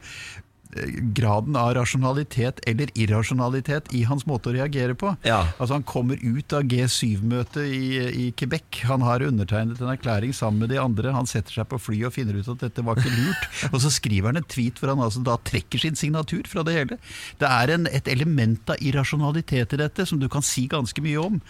eh, graden av rasjonalitet eller irrasjonalitet i hans måte å reagere på. Ja. Altså Han kommer ut av G7-møtet i, i Quebec. Han har undertegnet en erklæring sammen med de andre. Han setter seg på fly og finner ut at dette var ikke lurt. og så skriver han en tweet hvor han altså da trekker sin signatur fra det hele. Det er en, et element av irrasjonalitet i dette som du kan si ganske mye om.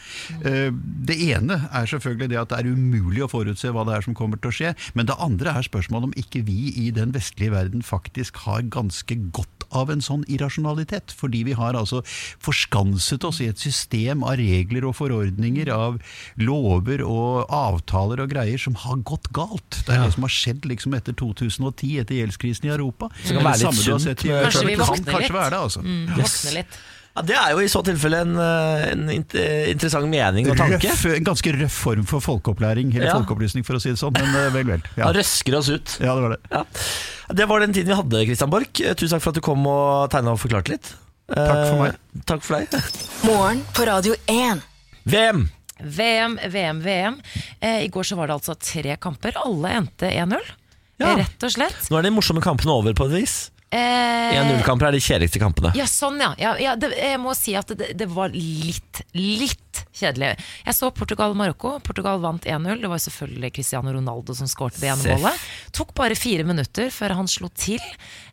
Eh, Det ene er selvfølgelig det at det er umulig å forutse hva det er som kommer til å skje. Men det andre er spørsmålet om ikke vi i den vestlige verden faktisk har ganske godt av en sånn irrasjonalitet. Fordi vi har altså forskanset oss i et system av regler og forordninger, av lover og avtaler og greier som har gått galt. Det er det som har skjedd liksom etter 2010, etter gjeldskrisen i Europa. det kan være samme litt du har sunt sett i- med- Kanskje vi Kan våkner litt. Kanskje være det, altså. Mm, våkne litt. Ja, det er jo i så tilfelle en, eh, en int- eh, interessant mening og tanke. Røff, en ganske røff form for folkeopplæring, eller Ja. folkeopplysning for å si det sånn, men eh, vel, vel. Ja. Han røsker oss ut. Ja, det var det. Ja. Det var den tiden vi hadde, Christian Borch. Tusen takk for at du kom og tegna og forklarte litt. Takk for meg. Eh, Takk for deg. Morgen på Radio 1. VM! VM, VM, VM. Eh, I går så var det altså tre kamper. Alle endte 1-0. Ja. Eh, Rett og slett. Nå er de morsomme kampene over, på et vis. Eh, 1-0-kamper er de kjedeligste kampene. Ja, sånn ja. ja, ja det, jeg må si at det, det var litt, litt kjedelig. Jeg så Portugal-Marokko. Portugal vant 1-0. Det var selvfølgelig Cristiano Ronaldo som skårte det ene Seff. målet. Tok bare fire minutter før han slo til.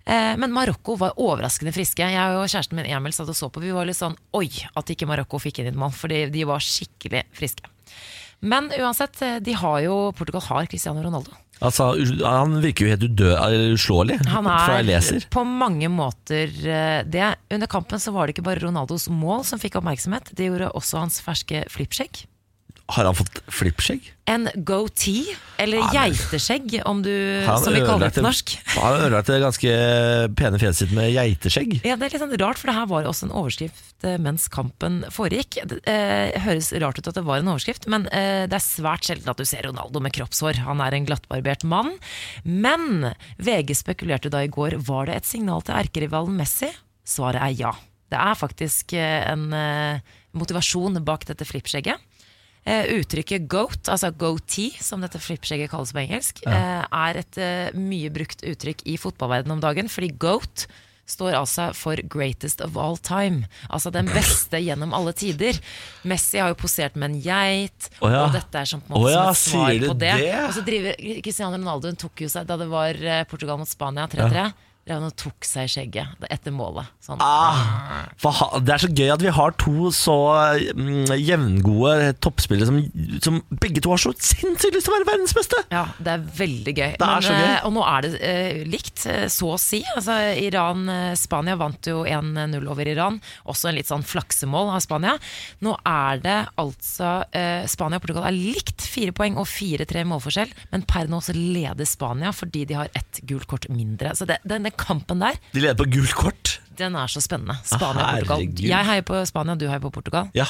Eh, men Marokko var overraskende friske. Jeg og kjæresten min Emil satt og så på. Vi var litt sånn oi at ikke Marokko fikk inn et mål, fordi de var skikkelig friske. Men uansett, eh, de har jo, Portugal har Cristiano Ronaldo. Altså, u- han virker jo helt udø- eller uslåelig, Han fra jeg er leser. på mange måter eh, det. Under kampen så var det ikke bare Ronaldos mål som fikk oppmerksomhet, det gjorde også hans ferske flippshake. Har han fått flippskjegg? En goatee, eller Ja, men- geiteskjegg, om du, Ah, Han Eh, som vi kaller ødelagte- det på norsk. Han har ødelagt det ganske pene fjeset sitt med geiteskjegg. Ja, Det er litt sånn rart, for det her var jo også en overskrift eh, mens kampen foregikk. Det eh, høres rart ut at det var en overskrift, men eh, det er svært sjelden at du ser Ronaldo med kroppshår. Han er en glattbarbert mann. Men VG spekulerte da i går var det et signal til erkerivalen Messi. Svaret er ja. Det er faktisk eh, en eh, motivasjon bak dette flippskjegget. Eh, uttrykket goat, altså goatee, som dette flippskjegget kalles på engelsk, eh, er et eh, mye brukt uttrykk i fotballverdenen om dagen, fordi goat står altså for greatest of all time. Altså den beste gjennom alle tider. Messi har jo posert med en geit, Å ja. og dette er som på en Å måte ja, som et sier du svar på det. det? Og så driver Cristiano Ronaldo hun tok jo seg, da det var eh, Portugal mot Spania 3-3, drev han og tok seg i skjegget etter målet. Sånn. For ha- Det er så gøy at vi har to så mm, jevngode toppspillere som, som begge to har så sinnssykt lyst til å være verdens beste! Ja, det er veldig gøy. er så gøy. eh, Og nå er det eh, likt, eh, så å si. Altså, Iran, eh, Spania vant jo 1-0 over Iran. Også en litt sånn flaksemål av Spania. Nå er det altså eh, Spania og Portugal er likt fire poeng og fire-tre målforskjell. Men per nå så leder Spania fordi de har ett gult kort mindre. Så det, denne kampen der, De leder på gult kort. den er så spennende. Spania og Herregud. Portugal. Jeg heier på Spania, du heier på Portugal. Ja.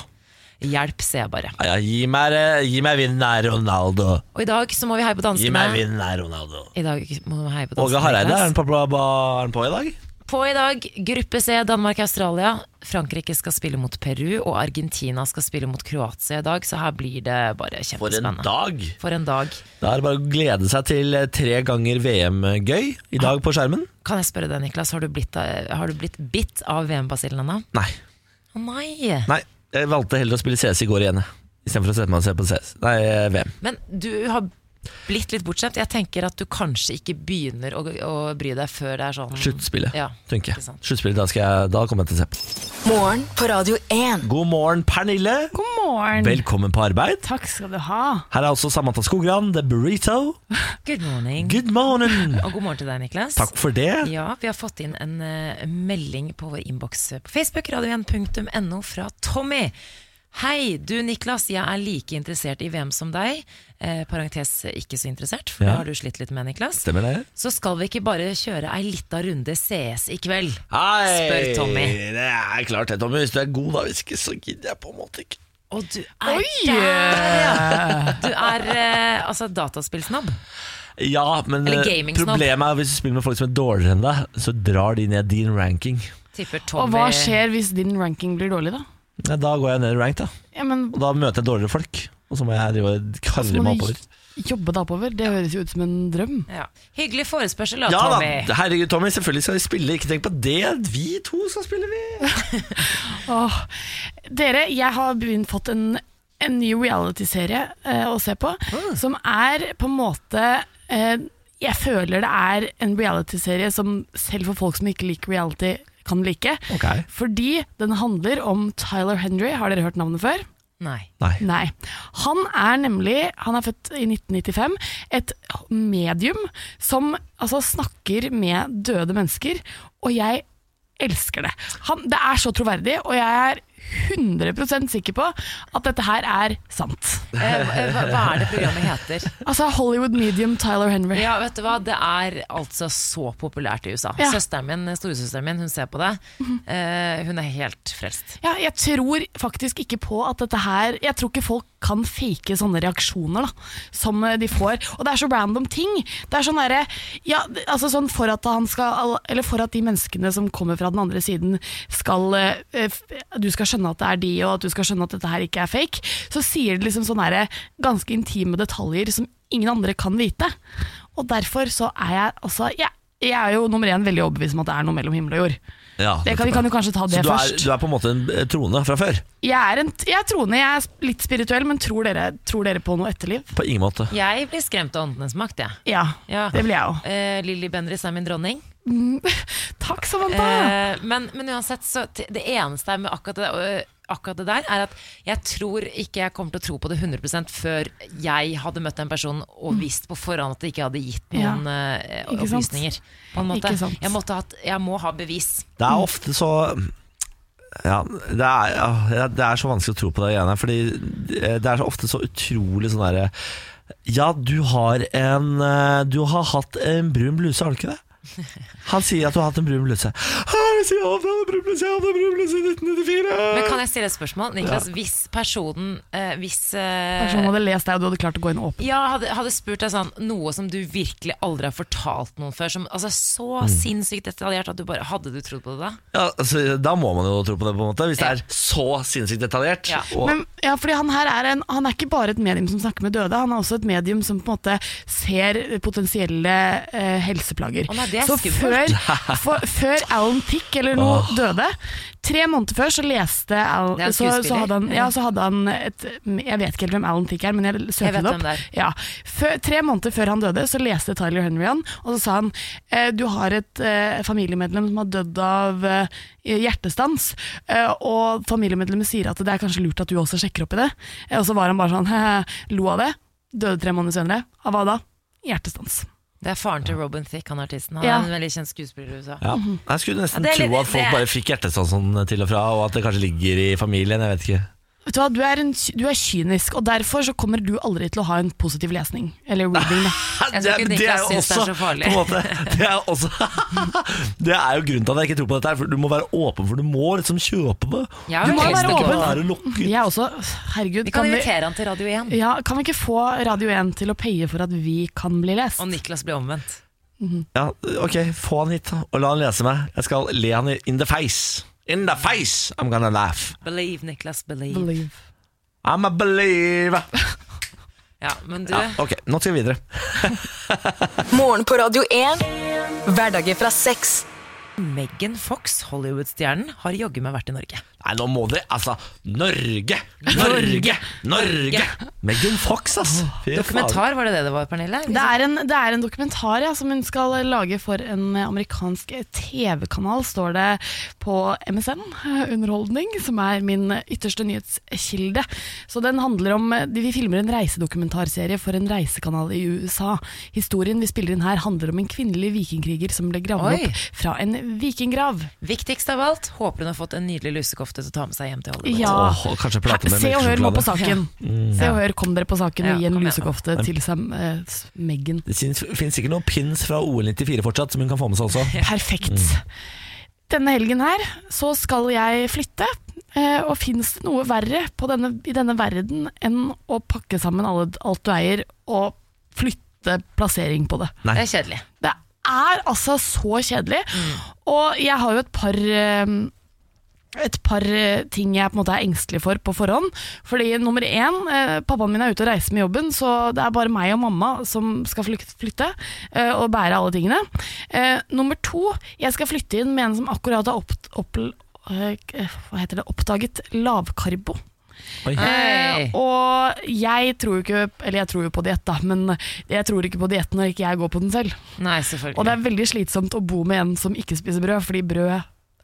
Hjelp, ser jeg bare. Ja, gi meg, eh, gi meg vinneren, Ronaldo. Og i dag så må vi heie på Gi meg danskene. vinneren, Ronaldo. I dag må vi heie på danskene. Åge Hareide, Niklas. er han på, på, på, er han på i dag? På i dag, gruppe C, Danmark-Australia. Frankrike skal spille mot Peru, og Argentina skal spille mot Kroatia i dag, så her blir det bare For en kjempespennende. dag! For en dag. Da er det bare å glede seg til eh, tre ganger VM-gøy i dag på skjermen. Kan jeg spørre deg, Niklas, har du blitt, eh, har du blitt bitt av VM-basillen ennå? Nei. Å nei! Nei, jeg valgte heller å spille CS i går igjen, jeg. istedenfor å sette meg og se på CS. Nei, eh, VM. Men du har blitt litt bortskjemt. Jeg tenker at du kanskje ikke begynner å, å bry deg før det er sånn Sluttspillet, Ja, tenker ikke jeg. sant. Sluttspillet, da, skal jeg, da kommer jeg til å se på. Morgen på Radio 1. God morgen, Pernille. God morgen. Velkommen på arbeid. Takk skal du ha. Her er også Samantha Skogran, The Burrito. Good morning. Good morning! Og god morgen til deg, Niklas. Takk for det. Ja, vi har fått inn en eh, melding på vår innboks på Facebook, radio1.no, fra Tommy. Hei, du Niklas, jeg er like interessert i VM som deg. Eh, parentes ikke så interessert, for Ja. det har du slitt litt med, Niklas. Stemmer det? Så skal vi ikke bare kjøre ei lita runde CS i kveld? Hei! Spør Tommy. Det er klart det, Tommy. Hvis du er god, da, hvis ikke, så gidder jeg på en måte ikke. Og du er der, ja! Du er eh, altså dataspillsnobb. Ja, men Eller eh, gamingsnobb. problemet er hvis du spiller med folk som er dårligere enn deg, så drar de ned din ranking. Tipper Og Tommy. hva skjer hvis din ranking blir dårlig, da? Ja, da går jeg ned i rank, da. Ja, men Og da møter jeg dårligere folk. Og så må jeg drive og så karre må meg du oppover. jobbe deg oppover. Det høres jo ut som en drøm. Ja. Hyggelig forespørsel da, Ja da, Tommy. herregud Tommy, selvfølgelig skal vi spille. Ikke tenk på det. Vi to skal spille, vi. Åh. Dere, jeg har begynt fått en, en ny reality-serie eh, å se på, som er på en måte eh, Jeg føler det er en reality-serie som selv for folk som ikke liker reality, kan like. Ok. Fordi den handler om Tyler Henry. Har dere hørt navnet før? Nei. Nei. Nei. Han er nemlig, han er født i 1995, et medium som altså, snakker med døde mennesker, og jeg elsker det. Han, det er så troverdig, og jeg er 100 sikker på at dette her er sant. Eh, hva, hva er det programmet heter? Altså Hollywood medium Tyler Henry. Ja, vet du hva? Det er altså så populært i USA. Ja. Søsteren min, Storesøsteren min hun ser på det. Eh, hun er helt frelst. Ja, jeg tror faktisk ikke på at dette her Jeg tror ikke folk kan fake sånne reaksjoner da, som eh, de får. Og det er så random ting. Det er sånn derre ja, det- altså sånn for at, han skal, eller for at de menneskene som kommer fra den andre siden, skal eh, f- Du skal skjønne at det er de, og at du skal skjønne at dette her ikke er fake. Så sier de liksom sånne derre ganske intime detaljer som ingen andre kan vite. Og derfor så er jeg altså Jeg, jeg er jo nummer én veldig overbevist om at det er noe mellom himmel og jord. Ja, Det kan, vi kan jo kanskje ta det så du først. er, du er på en måte en eh, trone fra før? Jeg er, en, jeg er troende, jeg er sp- litt spirituell, men tror dere, tror dere på noe etterliv? På ingen måte. Jeg blir skremt av åndenes makt, jeg. Ja, Ja. det blir jeg òg. Eh, Lilly Bendriss er min dronning. Takk, Samantha! Eh, men, men uansett, så t- det eneste er med akkurat det, øh, akkurat det der, er at jeg tror ikke jeg kommer til å tro på det 100 før jeg hadde møtt den personen og visst på forhånd at det ikke hadde gitt Mm. Ja. noen eh, Ikke sant? opplysninger. På en måte. Ikke sant. Jeg, måtte hatt, jeg må ha bevis. Det er ofte så Ja, det er, ja, det er så vanskelig å tro på det greiene her, fordi eh, det er så ofte så utrolig sånn derre Ja, du har en eh, Du har hatt en brun bluse, har du ikke det? Han sier at du har hatt en brun bluse. «Hæ, Jeg sier, jeg hadde en brun bluse, jeg hadde en brun bluse i 1994! Men kan jeg stille et spørsmål? Niklas, hvis personen eh, Hvis eh, Personen hadde lest deg, og du hadde klart å gå inn åpen. ja, hadde, hadde spurt deg sånn noe som du virkelig aldri har fortalt noen før, som altså, så sinnssykt detaljert at du bare Hadde du trodd på det da? Ja, altså, da må man jo tro på det, på en måte hvis det er så sinnssykt detaljert. Ja. Og, Men, ja, fordi han her er, en, han er ikke bare et medium som snakker med døde, han er også et medium som på en måte ser potensielle eh, helseplager. Å nei, det er så skummelt. før, for, før Alan Pick eller noe døde, tre måneder før så leste Alan, Det er en så, så, skuespiller. hadde han, ja, så hadde han et, Jeg vet ikke helt hvem Alan Pick er, men jeg Jeg søkte vet det hvem det opp. er. Ja. Før, tre måneder før han døde, så leste Tyler Henry han, og så sa han eh, du har et eh, familiemedlem som har dødd av eh, hjertestans, eh, og familiemedlemmet sier at det er kanskje lurt at du også sjekker opp i det. Eh, og så var han bare sånn, lo av det. Døde tre måneder senere. Av hva da? Hjertestans. Det er faren til Robin Thicke, han artisten. Han Ja. er en veldig kjent skuespiller i USA. ja. Jeg skulle nesten Ja, det er litt- tro at folk det er- bare fikk hjertestans sånn til og fra, og at det kanskje ligger i familien. Jeg vet ikke. Vet du hva, du er, en, ky- du er kynisk, og derfor så kommer du aldri til å ha en positiv lesning. Eller reading, da. Jeg tror ikke Niklas jo synes det er så farlig. på en måte, det, er også, det er jo grunnen til at jeg ikke tror på dette. her For Du må være åpen, for du må liksom kjøpe det. Jeg har Du må veldig lyst være til å gå åpen. da. Være lokket. Jeg også, herregud. Vi kan vi, invitere han til Radio 1, ja, kan vi ikke få Radio 1 til å paye for at vi kan bli lest? og Niklas blir omvendt. Ja, ok, Få han hit da, og la han lese meg. Jeg skal le han i- in the face. In the face, I'm gonna laugh. Believe, Niklas, believe. Believe. I'm a believer. Ja, men du, Ja, ok, nå skal vi videre. Morgen på Radio 1. Hverdager fra seks. Megan Fox, Hollywood-stjernen, har jogge meg vært i Norge. Nei, nå må dere Altså, Norge! Norge! Norge! Megan Fox, ass. Fy faen. Dokumentar, var det det det var, Pernille? Det er, en, det er en dokumentar ja, som hun skal lage for en amerikansk TV-kanal, står det på MSN, eh, Underholdning, som er min ytterste nyhetskilde. Så den handler om eh, de- Vi filmer en reisedokumentarserie for en reisekanal i USA. Historien vi spiller inn her, handler om en kvinnelig vikingkriger som ble gravd Oi. opp fra en vikinggrav. Viktigst av alt, håper hun har fått en nydelig lusekofte til å ta med seg hjem til Hollywood. Ja. Åh, og kanskje plate med Se og hør nå på melkesjokolade. saken. Se og hør, kom dere på saken Ja, og gi en kom igjen. lusekofte til Sam, eh, s- Meghan. Det fins sikkert noen pins fra OL 94 fortsatt som hun kan få med seg også. Perfekt. Denne helgen her så skal jeg flytte. eh, Og fins det noe verre på denne, i denne verden enn å pakke sammen alle, alt du eier og flytte plassering på det? Det er kjedelig. Det er altså så kjedelig. Og jeg har jo et par eh, et par eh, ting jeg på en måte er engstelig for på forhånd. Fordi nummer én, eh, pappaen min er ute og reiser med jobben, så det er bare meg og mamma som skal flyk- flytte eh, og bære alle tingene. Eh, Nummer to, jeg skal flytte inn med en som akkurat har opp, opp, eh, hva heter det, oppdaget lavkarbo. Oi. Hei. Eh, og jeg tror jo ikke Eller jeg tror jo på diett, da, men jeg tror ikke på dietten når ikke jeg går på den selv. Nei, Og det selvfølgelig. er veldig slitsomt å bo med en som ikke spiser brød, fordi brød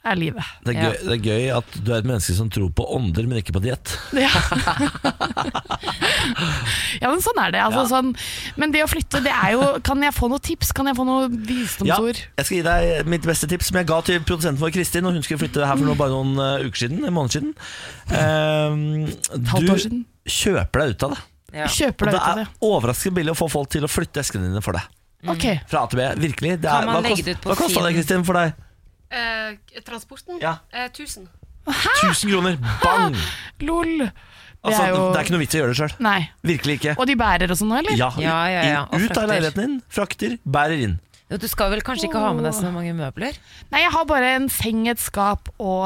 er livet. Det, er Ja. gøy, det er gøy at du er et menneske som tror på ånder, men ikke på diett. Ja. ja, men sånn er det. Altså, sånn. Men det å flytte, det er jo Kan jeg få noen tips? Kan jeg få noen Ja, visdomsord? jeg skal gi deg mitt beste tips, som jeg ga til produsenten vår Kristin. Og hun skulle flytte her for noe, bare noen eh, uker siden. En måned siden. Eh, halvt du år siden. kjøper deg ut av det. Ja. Og Kjøper det deg ut av er det. overraskende billig å få folk til å flytte eskene dine for deg. Ok, Fra A til B. Virkelig. Det er, Kan man hva legge kost- det ut på hva kosta det, Finn? Kristin, for deg? transporten? Ja. 1000. 1000 kroner. Bang! lol. Det Altså, er jo Det er ikke noe vits i å gjøre det sjøl. Nei. Virkelig ikke. Og de bærer og sånn nå, eller? Ja, Ja, ja, ja, og inn- Ut av frakter. leiligheten din, frakter, bærer inn. Jo, Du skal vel kanskje ikke ha med deg så mange møbler? Nei, jeg har bare en seng, et skap og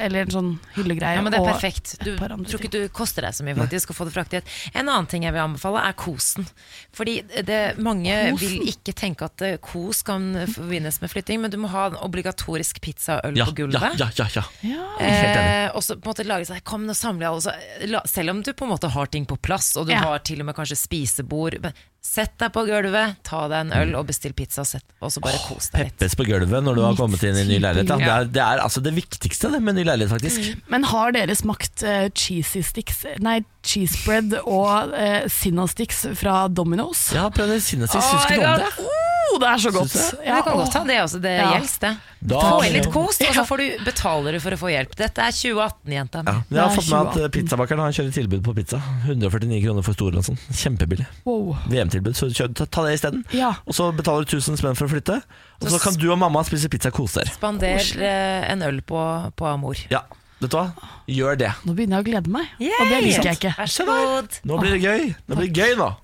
Eller en sånn hyllegreie. Ja, men det er og- perfekt. Du et par andre tror ikke du koster deg så mye faktisk å få det fraktet. En annen ting jeg vil anbefale, er kosen. Fordi det, mange vil ikke tenke at eh, kos kan forbindes med flytting, men du må ha en obligatorisk pizza og øl Ja, på ja, gulvet. ja, ja, ja. Helt enig. Eh, og så på en måte lage seg Kom, nå samler jeg alle så, eh, la, Selv om du på en måte har ting på plass, og du Ja. har til og med kanskje spisebord men Sett deg på gulvet, ta deg en øl og bestill pizza, og sett, og så bare kos deg litt. Peppes på gulvet når du har kommet inn i Mm. en ny leilighet. da. Det er, det er altså det viktigste det med en ny leilighet, faktisk. Men har dere smakt eh, cheesy sticks Nei, cheese bread og uh, sinna sticks fra Domino's? Jeg har prøvd det siden sist, Oh husker my du om God. det? Oh, det er så godt! Syns- Det kan godt ha det også, det Ja. gjelds det. Da- få inn litt kos, og så får du, betaler du for å få hjelp. Dette er 2018, jenta mi. Ja, men jeg har fått med at eh, pizzabakeren han kjører tilbud på pizza. 149 kroner for stor eller noe sånt. Kjempebillig. Wow. VM-tilbud, så kjør, ta, ta det isteden. Ja. Og så betaler du 1000 spenn for å flytte. Og så, Så kan du og mamma spise pizza og kose dere. Spander eh, en øl på, på Amor. Ja, vet du hva? Gjør det. Nå begynner jeg å glede meg, Yay! og det liker jeg ikke. Vær så god. Nå blir det gøy. Nå blir det gøy nå.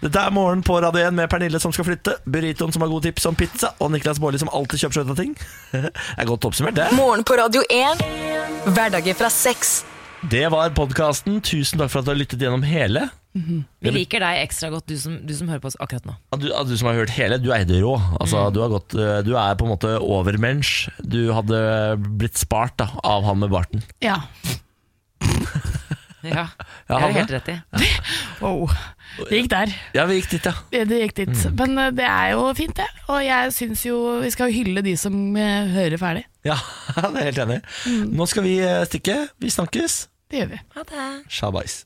Dette er Morgen på Radio 1 med Pernille som skal flytte, Burritoen som har gode tips om pizza, og Niklas Baarli som alltid kjøper skjøta ting. Det er godt oppsummert, det. Morgen på Radio 1. Hverdager fra seks. Det var podkasten. Tusen takk for at du har lyttet gjennom hele. Vi liker deg ekstra godt, du som, du som hører på oss akkurat nå. At du, at du som har hørt hele, du eide rå. Altså, du, har gått, eh, du er på en måte overmensch. Du hadde blitt spart da, av han med barten. Ja. Ja, Ja, det har han du helt rett i. Wow. Det gikk der. Ja, vi gikk dit, ja. Det det gikk dit. Mm. Men eh, det er jo fint, det. Og jeg syns jo vi skal jo hylle de som eh, hører ferdig. Ja, det er jeg helt enig. i. Nå skal vi eh, stikke. Vi snakkes. Det gjør vi. Ha det. Shabais.